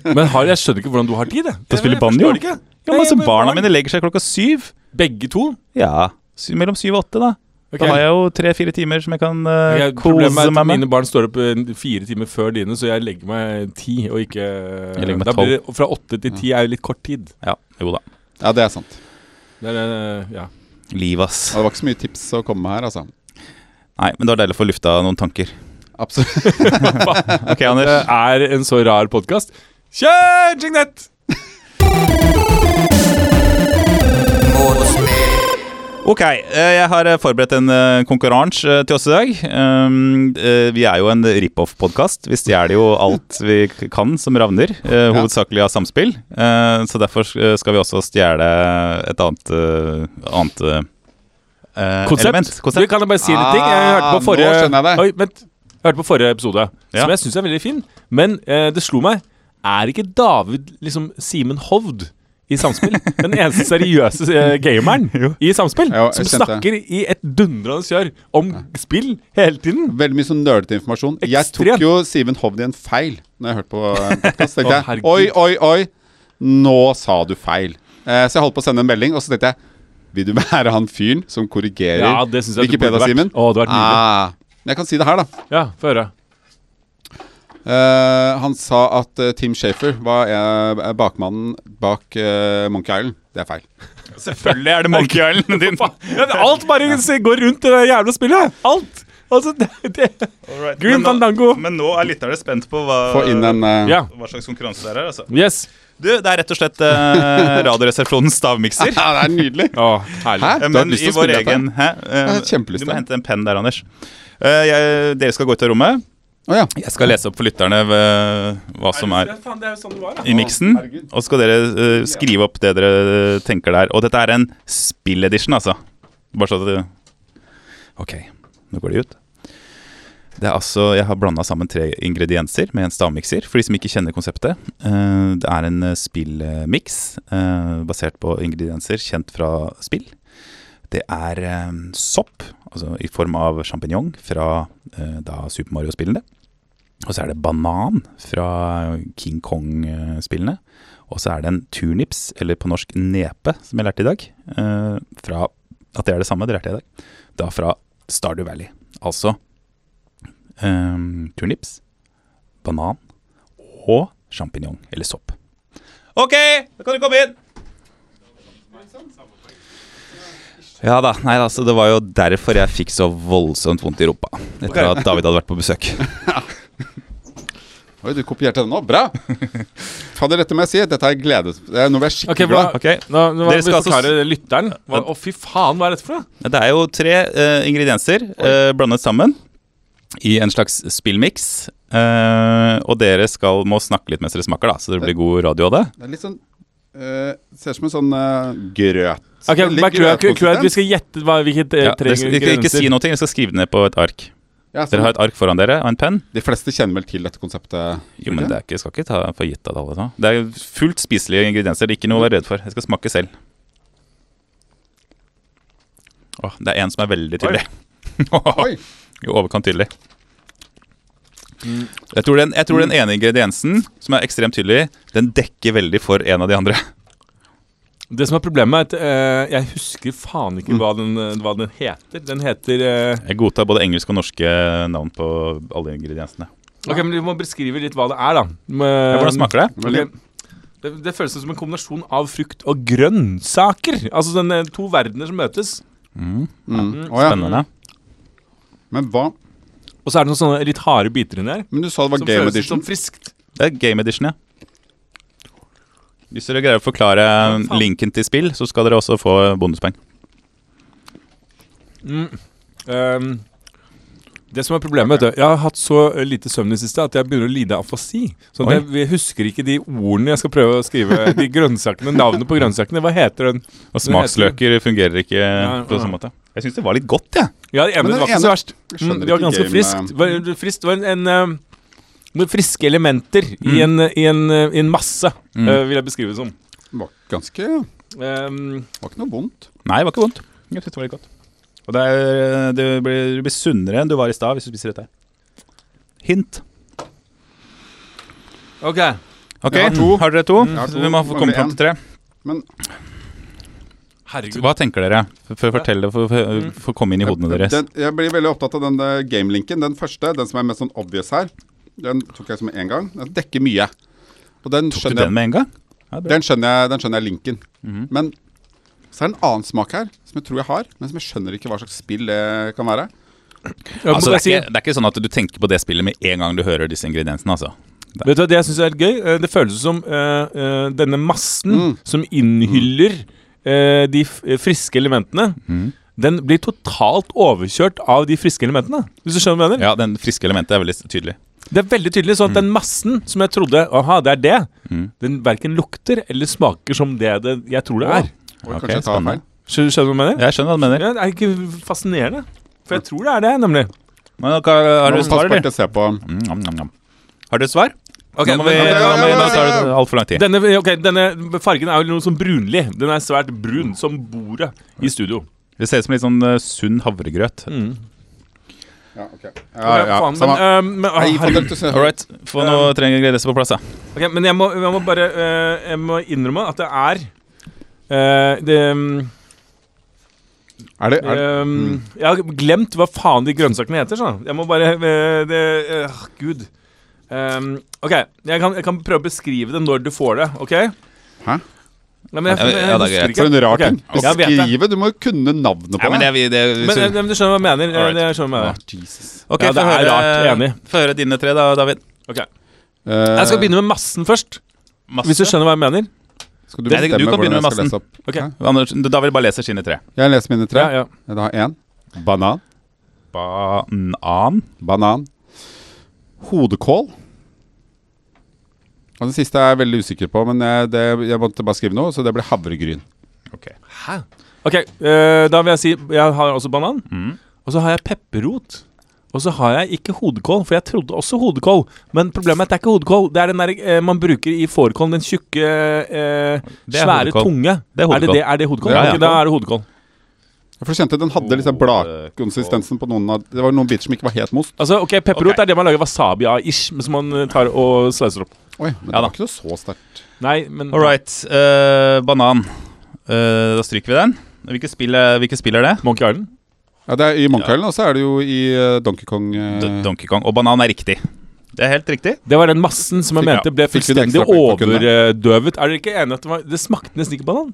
Speaker 3: Men har, jeg skjønner ikke hvordan du har tid, jeg.
Speaker 1: Til å spille
Speaker 3: Jeg forstår
Speaker 1: banjo?
Speaker 3: det ikke.
Speaker 1: Ja,
Speaker 3: Nei,
Speaker 1: men altså,
Speaker 3: men
Speaker 1: Barna
Speaker 3: barn-
Speaker 1: mine legger seg klokka syv.
Speaker 3: Begge to?
Speaker 1: Ja, sy mellom syv og åtte, da.
Speaker 3: Ok.
Speaker 1: Da har jeg jo tre-fire timer som jeg kan eh,
Speaker 3: Jeg,
Speaker 1: kose
Speaker 3: problemet
Speaker 1: meg
Speaker 3: er at
Speaker 1: med.
Speaker 3: mine barn står opp eh, fire timer før dine, så jeg legger meg ti, og ikke
Speaker 1: Jeg legger meg
Speaker 3: Da blir det Fra åtte til ti er jo litt kort tid.
Speaker 1: Ja, jo da.
Speaker 2: Ja, det er sant.
Speaker 3: Det er, eh, ja.
Speaker 1: Liv, ass.
Speaker 2: Og det var ikke så mye tips å komme med her, altså.
Speaker 1: Nei, men det var deilig å få lufta noen tanker.
Speaker 2: Absolutt.
Speaker 1: Ok, Anders.
Speaker 3: Det er en så rar podkast. Kjør Jignett!
Speaker 1: Ok, eh, jeg har eh, forberedt en eh, konkurranse eh, til oss i dag. Um, eh, Vi er jo en rip-off-podkast. Vi stjeler jo alt vi k- kan som ravner, eh, hovedsakelig av samspill. Eh, Så derfor eh, skal vi også stjele et annet, eh, annet eh,
Speaker 3: Konsept.
Speaker 1: element.
Speaker 3: Du kan jeg bare si en ting. Jeg hørte
Speaker 2: Ah,
Speaker 3: på forrige
Speaker 2: nå skjønner jeg det.
Speaker 3: Oi, vent. Jeg hørte på forrige episode,
Speaker 1: Ja.
Speaker 3: som jeg syns er veldig fin. Men eh, det slo meg. Er ikke David liksom Simen Hovd i Samspill? Den eneste seriøse eh, gameren i Samspill.
Speaker 2: Jo, jeg
Speaker 3: som
Speaker 2: kjente
Speaker 3: snakker i et dundrende kjør om spill hele tiden.
Speaker 2: Veldig mye sånn nerdete informasjon. Jeg
Speaker 3: Ekstremt.
Speaker 2: tok jo Simen Hovd i en feil når jeg hørte på en podcast. Tenkte
Speaker 3: Å,
Speaker 2: jeg
Speaker 3: herregud.
Speaker 2: oi, oi, oi, nå sa du feil. Eh, så jeg holdt på å sende en melding, og så tenkte jeg vil du være han fyren som korrigerer
Speaker 3: Ja, det synes jeg du burde vært.
Speaker 2: Wikipedia-Simen?
Speaker 3: Å, det hadde vært
Speaker 2: ah, jeg kan si det her, da.
Speaker 3: Ja, få høre.
Speaker 2: Eh, han sa at eh, Tim Shafer var eh, bakmannen bak eh, Monkey Island. Det er feil.
Speaker 1: Selvfølgelig er det Monkey Island din.
Speaker 3: Ja, men alt bare se- går rundt i det jævla spillet! Alt! Altså, det, det. Green
Speaker 1: Men nå-
Speaker 3: Fandango.
Speaker 1: Men nå er lytterne spent på hva,
Speaker 2: Få inn en eh,
Speaker 3: Ja.
Speaker 1: hva slags konkurranse det er. Altså.
Speaker 3: Yes.
Speaker 1: Du, det er rett og slett eh, Radioresepsjonens stavmikser.
Speaker 2: Ja, det er nydelig.
Speaker 3: Å, herlig.
Speaker 2: Hæ?
Speaker 1: Eh,
Speaker 2: Du har
Speaker 1: Men
Speaker 2: lyst
Speaker 1: i
Speaker 2: til å
Speaker 1: vår
Speaker 2: spille dette?
Speaker 1: egen hæ? Eh,
Speaker 2: Jeg har
Speaker 1: Du
Speaker 2: kjempelyst til
Speaker 1: må
Speaker 2: det.
Speaker 1: hente en penn der, Anders. Eh, jeg, dere skal gå ut av rommet.
Speaker 2: Å ja.
Speaker 1: Jeg skal lese opp for lytterne eh, hva som er
Speaker 3: Faen, det er jo sånn det var, da.
Speaker 1: i miksen.
Speaker 2: herregud.
Speaker 1: Og så skal dere eh, skrive opp det dere tenker der. Og dette er en spilledition, altså. Bare så at det OK, nå går de ut. Det er altså, Jeg har blanda sammen tre ingredienser med en stavmikser. For de som ikke kjenner konseptet. Eh, det er en eh, spillmiks eh, basert på ingredienser kjent fra spill. Det er eh, sopp, altså i form av sjampinjong fra eh, da Super Mario-spillene. Og så er det banan fra King Kong-spillene. Og så er det en turnips, eller på norsk nepe, som jeg lærte i dag. eh, fra At det er det samme, det lærte jeg i dag. Da fra Stardew Valley. Altså eh, turnips, banan og sjampinjong, eller sopp. OK, da kan du komme inn! Ja da. Nei, altså, det var jo derfor jeg fikk så voldsomt vondt i rumpa etter at David hadde vært på besøk.
Speaker 2: Oi, du kopierte den nå. Bra! Fader, dette må jeg si. Dette er glede... Det er noe vi er skikkelig
Speaker 3: Ok, hva,
Speaker 2: glad i.
Speaker 1: Ok.
Speaker 3: Nå, nå
Speaker 1: Dere skal
Speaker 3: Dere skal
Speaker 1: altså
Speaker 3: forklare lytteren. Hva, å, fy faen, hva er dette for noe?
Speaker 1: Det er jo tre eh, ingredienser eh, blandet sammen i en slags spillmiks. Eh, og dere skal, må snakke litt mens dere smaker, da, så det blir god radio av det.
Speaker 2: Det er litt sånn eh, Ser ut som en sånn eh, grøt.
Speaker 3: Ok,
Speaker 2: Veldig
Speaker 3: bare tror jeg, tror jeg- tror jeg at Vi
Speaker 2: grøtkonsistens.
Speaker 3: skal gjette hva, hvilket eh,
Speaker 1: Ja,
Speaker 3: ja,
Speaker 1: dere skal ikke, ikke si noe, dere skal skrive det ned på et ark.
Speaker 2: Ja,
Speaker 1: Dere har et
Speaker 2: sånn.
Speaker 1: ark foran dere og en penn.
Speaker 2: De fleste kjenner vel til dette konseptet?
Speaker 1: Jo, men det er ikke, skal ikke ta for gitt at alle tar. Det er fullt spiselige ingredienser. Det er ikke noe å være redd for. Jeg skal smake selv. Åh, det er en som er veldig tydelig.
Speaker 2: Oi!
Speaker 1: I overkant tydelig.
Speaker 3: Mm.
Speaker 1: Jeg tror, den, jeg tror den ene ingrediensen, som er ekstremt tydelig, den dekker veldig for en av de andre.
Speaker 3: Det som er problemet, er at eh, jeg husker
Speaker 1: Mm.
Speaker 3: faen ikke hva den, eh, hva den heter. Den heter eh,
Speaker 1: Jeg godtar både engelsk og norske navn på alle ingrediensene.
Speaker 3: Ok, men Du må beskrive litt hva det er, da. eh,
Speaker 1: Ja, hvordan smaker det?
Speaker 2: Veldig.
Speaker 3: Det, det føles som en kombinasjon av frukt og grønnsaker. Altså den, eh, to verdener som møtes.
Speaker 2: Mm. Å, ja.
Speaker 1: Spennende.
Speaker 2: Men hva
Speaker 3: Og så er det noen sånne litt harde biter inni der.
Speaker 2: Men du sa det var
Speaker 3: Som
Speaker 2: game
Speaker 3: føles ut
Speaker 2: edition.
Speaker 3: som friskt.
Speaker 1: Det er game edition, ja. Hvis dere greier å forklare
Speaker 3: faen.
Speaker 1: linken til spill, så skal dere også få bonuspoeng.
Speaker 3: Ehm, det som er problemet, vet du Jeg har hatt så eh, lite søvn i det siste at jeg begynner å lide av afasi. Så
Speaker 1: Oi.
Speaker 3: jeg, jeg husker ikke de ordene jeg skal prøve å skrive. De grønnsakene, Navnet på grønnsakene. Hva heter den?
Speaker 1: Og smaksløker fungerer ikke på
Speaker 3: ja.
Speaker 1: samme måte. Jeg syns det var litt godt, jeg.
Speaker 3: Ja, ja, men
Speaker 2: den
Speaker 3: det var ikke
Speaker 2: ene-
Speaker 3: så verst.
Speaker 2: Jeg skjønner
Speaker 3: Mm, det var
Speaker 2: ikke
Speaker 3: ganske
Speaker 2: game,
Speaker 3: friskt.
Speaker 2: eh,
Speaker 3: Det var, friskt. Det var en, en eh, noen friske elementer i, en, i, en, i en masse, eh, vil jeg beskrive det som.
Speaker 2: var ganske Var
Speaker 3: Ehm,
Speaker 2: ikke noe vondt.
Speaker 1: Nei, det var ikke vondt. Jeg synes det var litt godt. Og det er, du, blir, du blir sunnere enn du var i stad hvis du spiser dette. her. Hint.
Speaker 3: ok.
Speaker 1: Ok,
Speaker 2: Jeg har to.
Speaker 1: Har dere to?
Speaker 2: har to.
Speaker 1: Vi må få komme
Speaker 2: Mangler
Speaker 1: fram til tre.
Speaker 2: Men
Speaker 3: Herregud.
Speaker 1: Hva tenker dere? For, for å fortelle, for, for, for å komme inn i hodene deres.
Speaker 2: Den, jeg blir veldig opptatt av den der gamelinken. Den første, den som er mest sånn obvious her, den tok jeg som med en gang. Den dekker mye. Og den
Speaker 1: Tok du
Speaker 2: skjønner,
Speaker 1: den med en gang? Ja, Mhm.
Speaker 2: jeg,
Speaker 1: bra.
Speaker 2: den, skjønner jeg, den skjønner jeg linken. Men så er det en annen smak her, som jeg tror jeg har, men som jeg skjønner ikke hva slags spill det kan være.
Speaker 3: Jeg må
Speaker 1: altså,
Speaker 3: bare
Speaker 1: det,
Speaker 3: si-
Speaker 1: er ikke, det er ikke sånn at du tenker på det spillet med en gang du hører disse ingrediensene. altså.
Speaker 3: Vet du hva det jeg syns er gøy? Eh, Det føles som eh, eh, denne massen
Speaker 2: Mm.
Speaker 3: som innhyller eh, de f eh, friske elementene.
Speaker 2: Mm.
Speaker 3: Den blir totalt overkjørt av de friske elementene. Hvis du skjønner hva jeg mener?
Speaker 1: Ja, Den friske elementet er veldig tydelig.
Speaker 3: Det er veldig tydelig sånn at
Speaker 2: Mm.
Speaker 3: den massen som jeg trodde Aha, det er det. Den verken lukter eller smaker som det, det jeg tror det er.
Speaker 2: Og
Speaker 1: Ok,
Speaker 2: kanskje jeg tar
Speaker 1: spennende.
Speaker 2: feil.
Speaker 3: Skjønner skjønner du hva jeg mener?
Speaker 1: Jeg skjønner hva du mener.
Speaker 3: Ja, det er ikke fascinerende. For jeg tror det er det, nemlig.
Speaker 1: Men, hva, har
Speaker 2: Nå
Speaker 1: dere
Speaker 2: må
Speaker 1: svar,
Speaker 2: passe på at
Speaker 1: eller?
Speaker 2: jeg ser på
Speaker 1: Mm, nam, nam, nam. Har dere svar?
Speaker 3: Ok,
Speaker 1: nå må vi,
Speaker 3: men-
Speaker 1: nå må vi, nå tar det altfor lang tid.
Speaker 3: Denne, ok, denne fargen er jo noe sånn brunlig. Den er svært brun, som bordet i studio.
Speaker 1: Det ser ut som litt sånn eh, sunn havregrøt.
Speaker 2: Ja, ok. Ja, ja,
Speaker 3: faen,
Speaker 2: samme.
Speaker 3: men, eh, men, ah,
Speaker 2: Nei, for
Speaker 3: herregud.
Speaker 2: dette ser-
Speaker 1: All right, få noe trenger ingredienser på plass, da.
Speaker 3: Ok, men jeg må, jeg må bare eh, Jeg må innrømme at det er eh, det, mm,
Speaker 2: Er det, er det?
Speaker 3: eh,
Speaker 1: Mm.
Speaker 3: Jeg har glemt hva faen de grønnsakene heter. Så. Jeg må bare eh, det, eh, Gud. Ehm, Eh, OK, jeg kan, jeg kan prøve å beskrive det når du får det. ok?
Speaker 2: Hæ?
Speaker 3: Nei, men jeg,
Speaker 1: Ja,
Speaker 3: jeg,
Speaker 1: ja,
Speaker 3: jeg
Speaker 1: det er
Speaker 3: husker
Speaker 1: greit.
Speaker 3: ikke.
Speaker 2: For en rar
Speaker 3: Ok,
Speaker 2: ting.
Speaker 3: jeg vet det.
Speaker 2: Beskrive! Du må jo kunne navnet
Speaker 1: Ja,
Speaker 2: på
Speaker 1: men
Speaker 2: det.
Speaker 1: det, er vi- det,
Speaker 3: Men, eh, men du skjønner hva jeg mener. eh,
Speaker 1: Alright.
Speaker 3: Det jeg skjønner hva jeg
Speaker 2: Ah,
Speaker 3: mener.
Speaker 2: Jesus.
Speaker 1: Ok,
Speaker 3: Ja, det
Speaker 1: få
Speaker 3: er
Speaker 1: høre-
Speaker 3: rart, enig.
Speaker 1: Få høre dine tre, da, David.
Speaker 3: Ok.
Speaker 2: Eh,
Speaker 3: Jeg skal begynne med massen først.
Speaker 1: Masse.
Speaker 3: Hvis du skjønner hva jeg mener.
Speaker 2: Skal du
Speaker 1: Nei, du
Speaker 2: bestemme
Speaker 1: kan
Speaker 2: hvordan
Speaker 1: begynne
Speaker 2: jeg
Speaker 1: med
Speaker 2: skal lese
Speaker 1: massen.
Speaker 2: opp?
Speaker 3: Ok.
Speaker 2: Ja.
Speaker 1: Anders, David bare leser sine tre.
Speaker 2: Jeg leser mine tre.
Speaker 3: Ja, ja.
Speaker 2: Jeg har én. Banan.
Speaker 1: Banan.
Speaker 2: Banan. Hodekål. Og den siste er jeg veldig usikker på, men jeg, det, jeg måtte bare skrive noe, så det ble havregryn.
Speaker 1: Ok.
Speaker 3: Ok, eh, da vil jeg si Jeg har også banan.
Speaker 1: Mm.
Speaker 3: Og så har jeg pepperrot. Og så har jeg ikke hodekål, for jeg trodde også hodekål. Men problemet er at det er ikke hodekål. Det er den der, eh, man bruker i fårikålen, den tjukke, eh,
Speaker 1: Det er
Speaker 3: svære
Speaker 1: hodekål.
Speaker 3: tunge.
Speaker 1: Det er
Speaker 3: Er det,
Speaker 1: hodekål.
Speaker 3: det, er det hodekål?
Speaker 1: Ja, ja.
Speaker 3: Ok, da er det hodekål.
Speaker 2: For jeg kjente Den hadde liksom bladkonsistensen på noen av Det var noen biter som ikke var helt most.
Speaker 3: Altså, ok, Pepperrot
Speaker 1: Ok.
Speaker 3: er det man lager wasabi av, ish, men som man eh, tar og slicer opp.
Speaker 2: Oi, men
Speaker 1: Ja
Speaker 2: det
Speaker 1: da.
Speaker 2: var ikke noe så sterkt.
Speaker 3: Nei, men
Speaker 1: All right. eh, banan. Eh, da stryker vi den. Hvilket spill, er- hvilket spill er det?
Speaker 3: Monkey Island?
Speaker 2: Ja, det er I Monkey Island, og så er det jo i eh, Donkey Kong eh,
Speaker 1: D Donkey Kong. Og banan er riktig. Det er helt riktig.
Speaker 3: Det var den massen som jeg
Speaker 2: Fikk-
Speaker 3: mente ble
Speaker 2: fikk vi det
Speaker 3: fullstendig
Speaker 2: ekstra poeng på
Speaker 3: overdøvet. Er dere ikke enige at det, var, det smakte nesten ikke banan?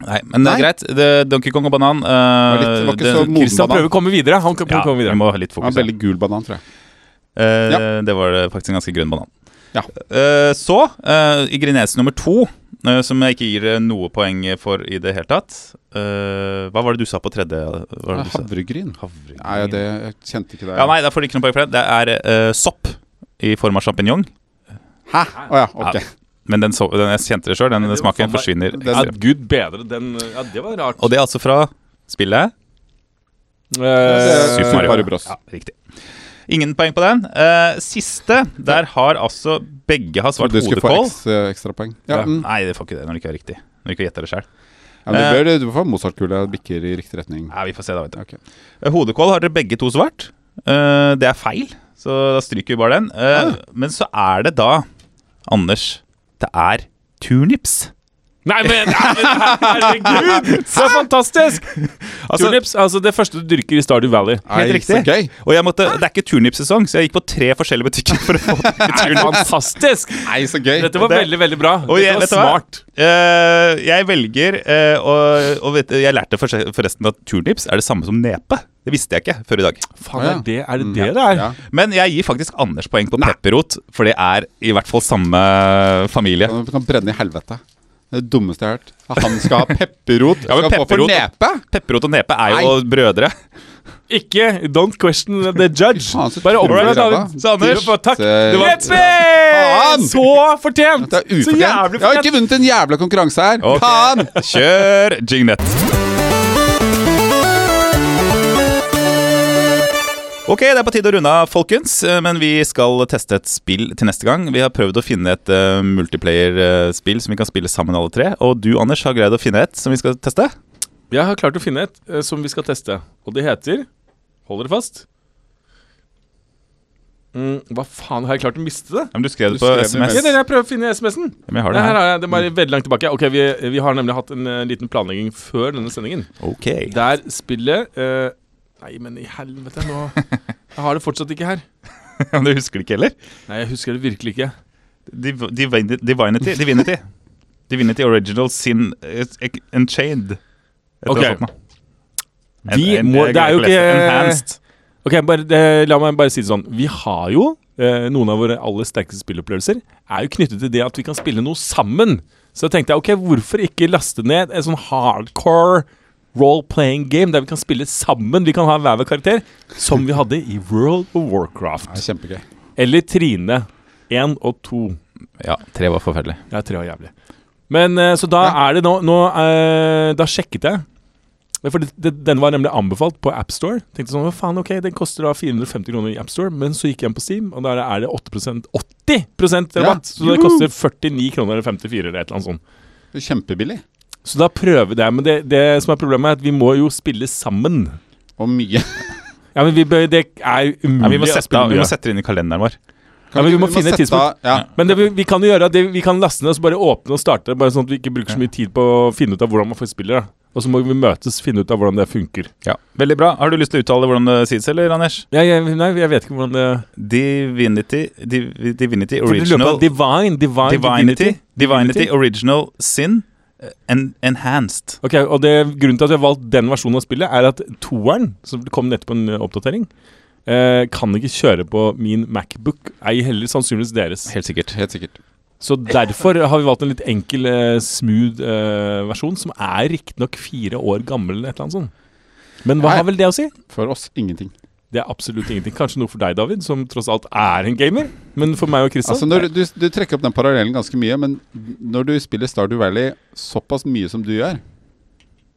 Speaker 1: Nei, Men det er
Speaker 2: Nei.
Speaker 1: greit. Det, Donkey Kong og banan eh,
Speaker 2: Det var litt- det var ikke så moden
Speaker 3: Kristian
Speaker 2: banan.
Speaker 3: prøver å komme videre. Han kan prøve
Speaker 1: ja,
Speaker 3: å komme
Speaker 1: vi
Speaker 3: videre.
Speaker 1: må ha litt
Speaker 2: Ja,
Speaker 1: fokus. her.
Speaker 2: veldig gul banan, tror jeg.
Speaker 1: Eh,
Speaker 2: Ja.
Speaker 1: Det var eh, faktisk en ganske grønn banan.
Speaker 2: Ja.
Speaker 1: Eh, så, eh, ingrediens nummer to, eh, som jeg ikke gir eh, noe poeng for i det hele tatt Eh, Hva var det du sa på tredje? Hva var det du sa?
Speaker 2: Havregryn.
Speaker 1: Havregryn.
Speaker 2: Ah, Nei, det, jeg kjente ikke det.
Speaker 1: Ja, nei, da får du ikke noe poeng for det. Det er eh, sopp i form av sjampinjong.
Speaker 2: Hæ? Å ja, ok.
Speaker 1: Ja. Men den, so den jeg kjente det sjøl, den
Speaker 3: det var
Speaker 1: smaken
Speaker 3: faen meg-
Speaker 1: forsvinner.
Speaker 2: Den-
Speaker 3: Ja,
Speaker 1: ekstremt.
Speaker 3: gud bedre. Den Ja, det var rart.
Speaker 1: Og det er altså fra spillet
Speaker 2: Eh,
Speaker 1: Super Mario.
Speaker 2: Bros.
Speaker 1: Ja, riktig. Ingen poeng på den. Eh, siste, der har altså begge har svart
Speaker 2: Trodde du skulle få
Speaker 1: hodekål.
Speaker 2: eks, eh, ekstrapoeng. Ja,
Speaker 3: Ja.
Speaker 2: mm.
Speaker 1: Nei, det får ikke det når det ikke er riktig. Når du ikke gjetter det sjøl.
Speaker 2: ja, men du, bør, du får Mozart-kula bikker i riktig retning.
Speaker 1: Nei, vi får se, da. vet du
Speaker 2: Ok.
Speaker 1: Eh, Hodekål har dere begge to svart. Eh, det er feil, så da stryker vi bare den. Eh, Men så er det da, Anders, det er turnips.
Speaker 3: Nei, men, nei, men herregud! Så fantastisk!
Speaker 1: Ah! Altså-
Speaker 3: Turnips, altså det første du dyrker i Stardew Valley.
Speaker 1: Helt
Speaker 2: Nei,
Speaker 1: riktig.
Speaker 2: Så gøy.
Speaker 1: Og jeg måtte, det er ikke turnipsesong, så jeg gikk på tre forskjellige butikker for å få tak i turnips.
Speaker 3: Fantastisk!
Speaker 2: Nei, så gøy.
Speaker 3: Dette var
Speaker 1: Det-
Speaker 3: veldig, veldig bra.
Speaker 1: Og jeg- vet du
Speaker 3: Dette var
Speaker 1: hva?
Speaker 3: smart.
Speaker 1: Eh, jeg velger eh, å og vet, Jeg lærte forse- forresten at turnips er det samme som nepe. Det visste jeg ikke før i dag.
Speaker 3: Faen,
Speaker 2: Ja.
Speaker 3: er det er det, det det er?
Speaker 2: Ja.
Speaker 1: Men jeg gir faktisk Anders poeng på pepperrot, for det er i hvert fall samme familie.
Speaker 2: Ja, men Du kan brenne i helvete. Det er det dummeste jeg har hørt. At Han skal ha pepperrot.
Speaker 1: Ja, men
Speaker 2: skal få for
Speaker 1: pepperrot-
Speaker 2: nepe!
Speaker 1: Pepperrot og nepe er jo brødre.
Speaker 3: Ikke Don't question the judge.
Speaker 2: Faen, så
Speaker 3: Bare
Speaker 2: utrolig
Speaker 3: oppfør deg,
Speaker 2: ræva.
Speaker 3: David. Så Anders,
Speaker 2: Fy
Speaker 3: takk.
Speaker 2: faen.
Speaker 3: Det var
Speaker 2: Faen!
Speaker 3: Så fortjent!
Speaker 2: Det er
Speaker 3: Så jævlig
Speaker 2: ufortjent. Jeg har ikke
Speaker 3: fortjent.
Speaker 2: vunnet en jævla konkurranse her.
Speaker 1: Ok.
Speaker 2: Faen!
Speaker 1: Kjør jignett. Ok, det er på tide å runde av, folkens. eh, Men vi skal teste et spill til neste gang. Vi har prøvd å finne et eh, multiplayer-spill som vi kan spille sammen alle tre. Og du, Anders, har greid å finne et som vi skal teste.
Speaker 3: Jeg har klart å finne et eh, som vi skal teste, og det heter Hold dere fast. Mm, hva faen, har jeg klart å miste det?
Speaker 1: Ja, men du skrev det
Speaker 2: Du
Speaker 1: på
Speaker 2: skrev det
Speaker 1: SMS.
Speaker 3: Ja, det er det jeg prøver å finne i SMS-en.
Speaker 1: Ja, men jeg har
Speaker 3: Nei,
Speaker 1: det
Speaker 3: her
Speaker 1: her.
Speaker 3: har jeg det bare veldig langt tilbake. Ok, vi, vi har nemlig hatt en eh, liten planlegging før denne sendingen.
Speaker 1: Ok.
Speaker 3: Der spillet eh, Nei, men i helvete, nå Jeg har det fortsatt ikke her.
Speaker 1: Men du husker det ikke heller?
Speaker 3: Nei, jeg husker det virkelig ikke.
Speaker 1: Div Divini- Divinity. Divinity. Divinity Original Sin eh, Ec- Unchained. Et eller
Speaker 3: Ok.
Speaker 1: annet sånt nå. En-
Speaker 3: Vi
Speaker 1: en-
Speaker 3: må-
Speaker 1: jeg
Speaker 3: det
Speaker 1: greier
Speaker 3: er jo
Speaker 1: å lese.
Speaker 3: ikke-
Speaker 1: Enhanced.
Speaker 3: Ok, bare, eh, La meg bare si det sånn. Vi har jo eh, noen av våre aller sterkeste spillopplevelser er jo knyttet til det at vi kan spille noe sammen. Så jeg tenkte jeg, ok, hvorfor ikke laste ned en sånn hardcore role-playing game der vi kan spille sammen? Vi kan ha hver vår karakter, som vi hadde i World of Warcraft.
Speaker 2: Det er kjempegøy.
Speaker 3: Eller Trine 1 og 2.
Speaker 1: Ja, tre var forferdelig.
Speaker 3: Ja, 3 var jævlig. Men eh, så da
Speaker 2: Ja.
Speaker 3: er det nå, nå eh, Da sjekket jeg. Men For det, det, den var nemlig anbefalt på AppStore. Tenkte sånn, hva faen, ok, Den koster da 450 kroner i AppStore, men så gikk jeg inn på Steam, og der er det 8 80
Speaker 2: Ja.
Speaker 3: rabatt! Så det koster 49 kroner eller 54 eller et eller annet sånt.
Speaker 2: Det er Kjempebillig.
Speaker 3: Så da prøver jeg, men det, det som er problemet, er at vi må jo spille sammen.
Speaker 2: Og mye.
Speaker 3: Ja, men vi bør, Det er jo umulig
Speaker 1: Nei, vi, må
Speaker 3: å
Speaker 1: sette,
Speaker 3: spille
Speaker 1: vi
Speaker 3: mye.
Speaker 1: må sette det inn i kalenderen vår.
Speaker 3: Ja, men vi må finne et
Speaker 2: sette
Speaker 3: tidspunkt.
Speaker 2: av- Ja.
Speaker 3: Men det vi, vi kan jo gjøre at det, vi kan laste ned og så bare åpne og starte. Bare sånn at vi ikke bruker så mye tid på å finne ut av hvordan man får spillere. Og så må vi møtes finne ut av hvordan det funker.
Speaker 1: Ja, Veldig bra. Har du lyst til å uttale hvordan det sies, eller, Anders?
Speaker 3: Jeg, jeg, nei, jeg vet ikke hvordan det
Speaker 1: Divinity Div Divinity
Speaker 3: For det løper
Speaker 1: Original
Speaker 3: av Divine, divine
Speaker 1: Divinity
Speaker 3: divinity.
Speaker 1: Divinity Original Sin eh, en enhanced.
Speaker 3: Ok, og det, Grunnen til at jeg har valgt den versjonen av spillet, er at toeren, som kom nettopp en eh, oppdatering, eh, kan ikke kjøre på min Macbook, ei heller sannsynligvis deres.
Speaker 1: Helt sikkert.
Speaker 2: Helt sikkert.
Speaker 3: Så derfor har vi valgt en litt enkel, eh, smooth eh, versjon, som er riktignok fire år gammel eller et eller annet sånt. Men hva
Speaker 2: Nei.
Speaker 3: har vel det å si?
Speaker 2: For oss ingenting.
Speaker 3: Det er absolutt ingenting. Kanskje noe for deg, David, som tross alt er en gamer. Men for meg og Christian
Speaker 2: Altså når, du, du trekker opp den parallellen ganske mye, men når du spiller Stardew Valley såpass mye som du gjør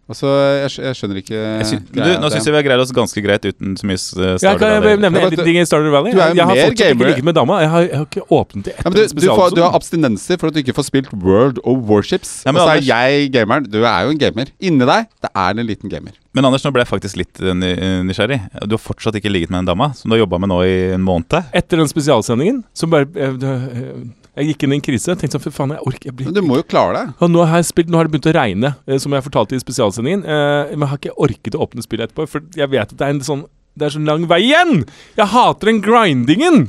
Speaker 2: Altså, jeg, skj- jeg skjønner ikke
Speaker 1: Jeg sy du,
Speaker 2: greia-
Speaker 1: nå syns jeg vi har greid oss ganske greit uten så mye s-
Speaker 3: Ja, kan
Speaker 1: Stardew
Speaker 3: jeg
Speaker 1: Valley.
Speaker 3: bare nevne
Speaker 2: Ja,
Speaker 3: en
Speaker 2: men
Speaker 3: liten
Speaker 2: du-
Speaker 3: ting i Stardew Valley?
Speaker 2: du er jo
Speaker 3: jeg har
Speaker 2: mer
Speaker 3: fortsatt ikke
Speaker 2: gamer.
Speaker 3: ligget med dama. Jeg har, jeg har ikke åpnet det
Speaker 2: ja,
Speaker 3: etter
Speaker 2: men du, du, får, du
Speaker 3: spesialepisoden.
Speaker 2: har abstinenser for at du ikke får spilt World of Warships.
Speaker 1: Ja, men
Speaker 2: og så
Speaker 1: Anders-
Speaker 2: er jeg gameren. Du er jo en gamer. Inni deg det er en liten gamer.
Speaker 1: Men Anders, nå ble jeg faktisk litt eh, ny- eh, nysgjerrig. Du har fortsatt ikke ligget med en dama som du har jobba med nå i en måned.
Speaker 3: Etter den spesialsendingen så bare eh, jeg, jeg, jeg gikk inn i en krise. Jeg tenkte sånn, for faen, jeg orker jeg blir
Speaker 2: Men du må jo klare det.
Speaker 3: og nå har, jeg spilt, nå har det begynt å regne, eh, som jeg fortalte i spesialsendingen. eh, Men jeg har ikke orket å åpne spillet etterpå, for jeg vet at det er en sånn Det er så lang vei igjen! Jeg hater den grindingen!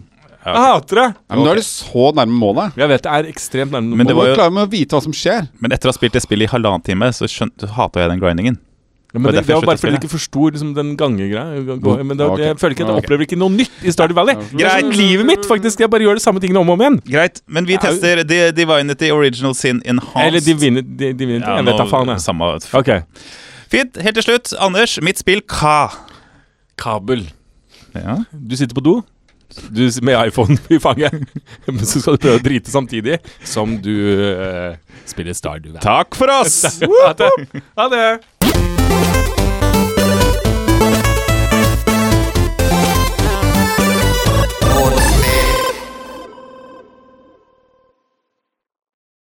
Speaker 3: Jeg hater det!
Speaker 2: Ja, men Nå er du så nærme målet.
Speaker 3: Jeg vet det er ekstremt nærme
Speaker 1: Men
Speaker 2: Du
Speaker 1: det
Speaker 3: mål.
Speaker 1: var
Speaker 2: må jo
Speaker 1: jo-
Speaker 2: klare med å vite hva som skjer.
Speaker 1: Men etter å ha spilt det spillet i halvannen time, så, skjønt- så hata jeg den grindingen.
Speaker 3: Ja,
Speaker 1: det
Speaker 3: men
Speaker 1: var
Speaker 3: det,
Speaker 1: derfor jeg
Speaker 3: det var bare
Speaker 1: sluttet å
Speaker 3: fordi jeg ikke forsto liksom, den gangegreia. Gå- gå- Men det,
Speaker 2: ok.
Speaker 3: jeg føler ikke at
Speaker 2: Ja,
Speaker 3: jeg
Speaker 2: ok.
Speaker 3: opplever ikke noe nytt i Stardew Valley. Det er
Speaker 1: Greit.
Speaker 3: sånn livet mitt, faktisk. Jeg bare gjør de samme tingene om og om igjen.
Speaker 1: Greit, men vi
Speaker 3: Ja, jo.
Speaker 1: tester Di- Divinity Original Sin Enhanced.
Speaker 3: Eller de vinner, de, de vinner
Speaker 1: Ja,
Speaker 3: Jeg vet da
Speaker 1: nå-
Speaker 3: faen, jeg.
Speaker 1: Samme f-
Speaker 3: Ok.
Speaker 1: Fint. Helt til slutt, Anders. Mitt spill Ka.
Speaker 3: Kabel.
Speaker 1: Ja.
Speaker 3: Du sitter på do. Du sitter med iPhone i fanget. Men så skal du prøve å drite samtidig som du eh, spiller Stardew Valley.
Speaker 1: Takk for oss!
Speaker 3: Ha det. Ha det.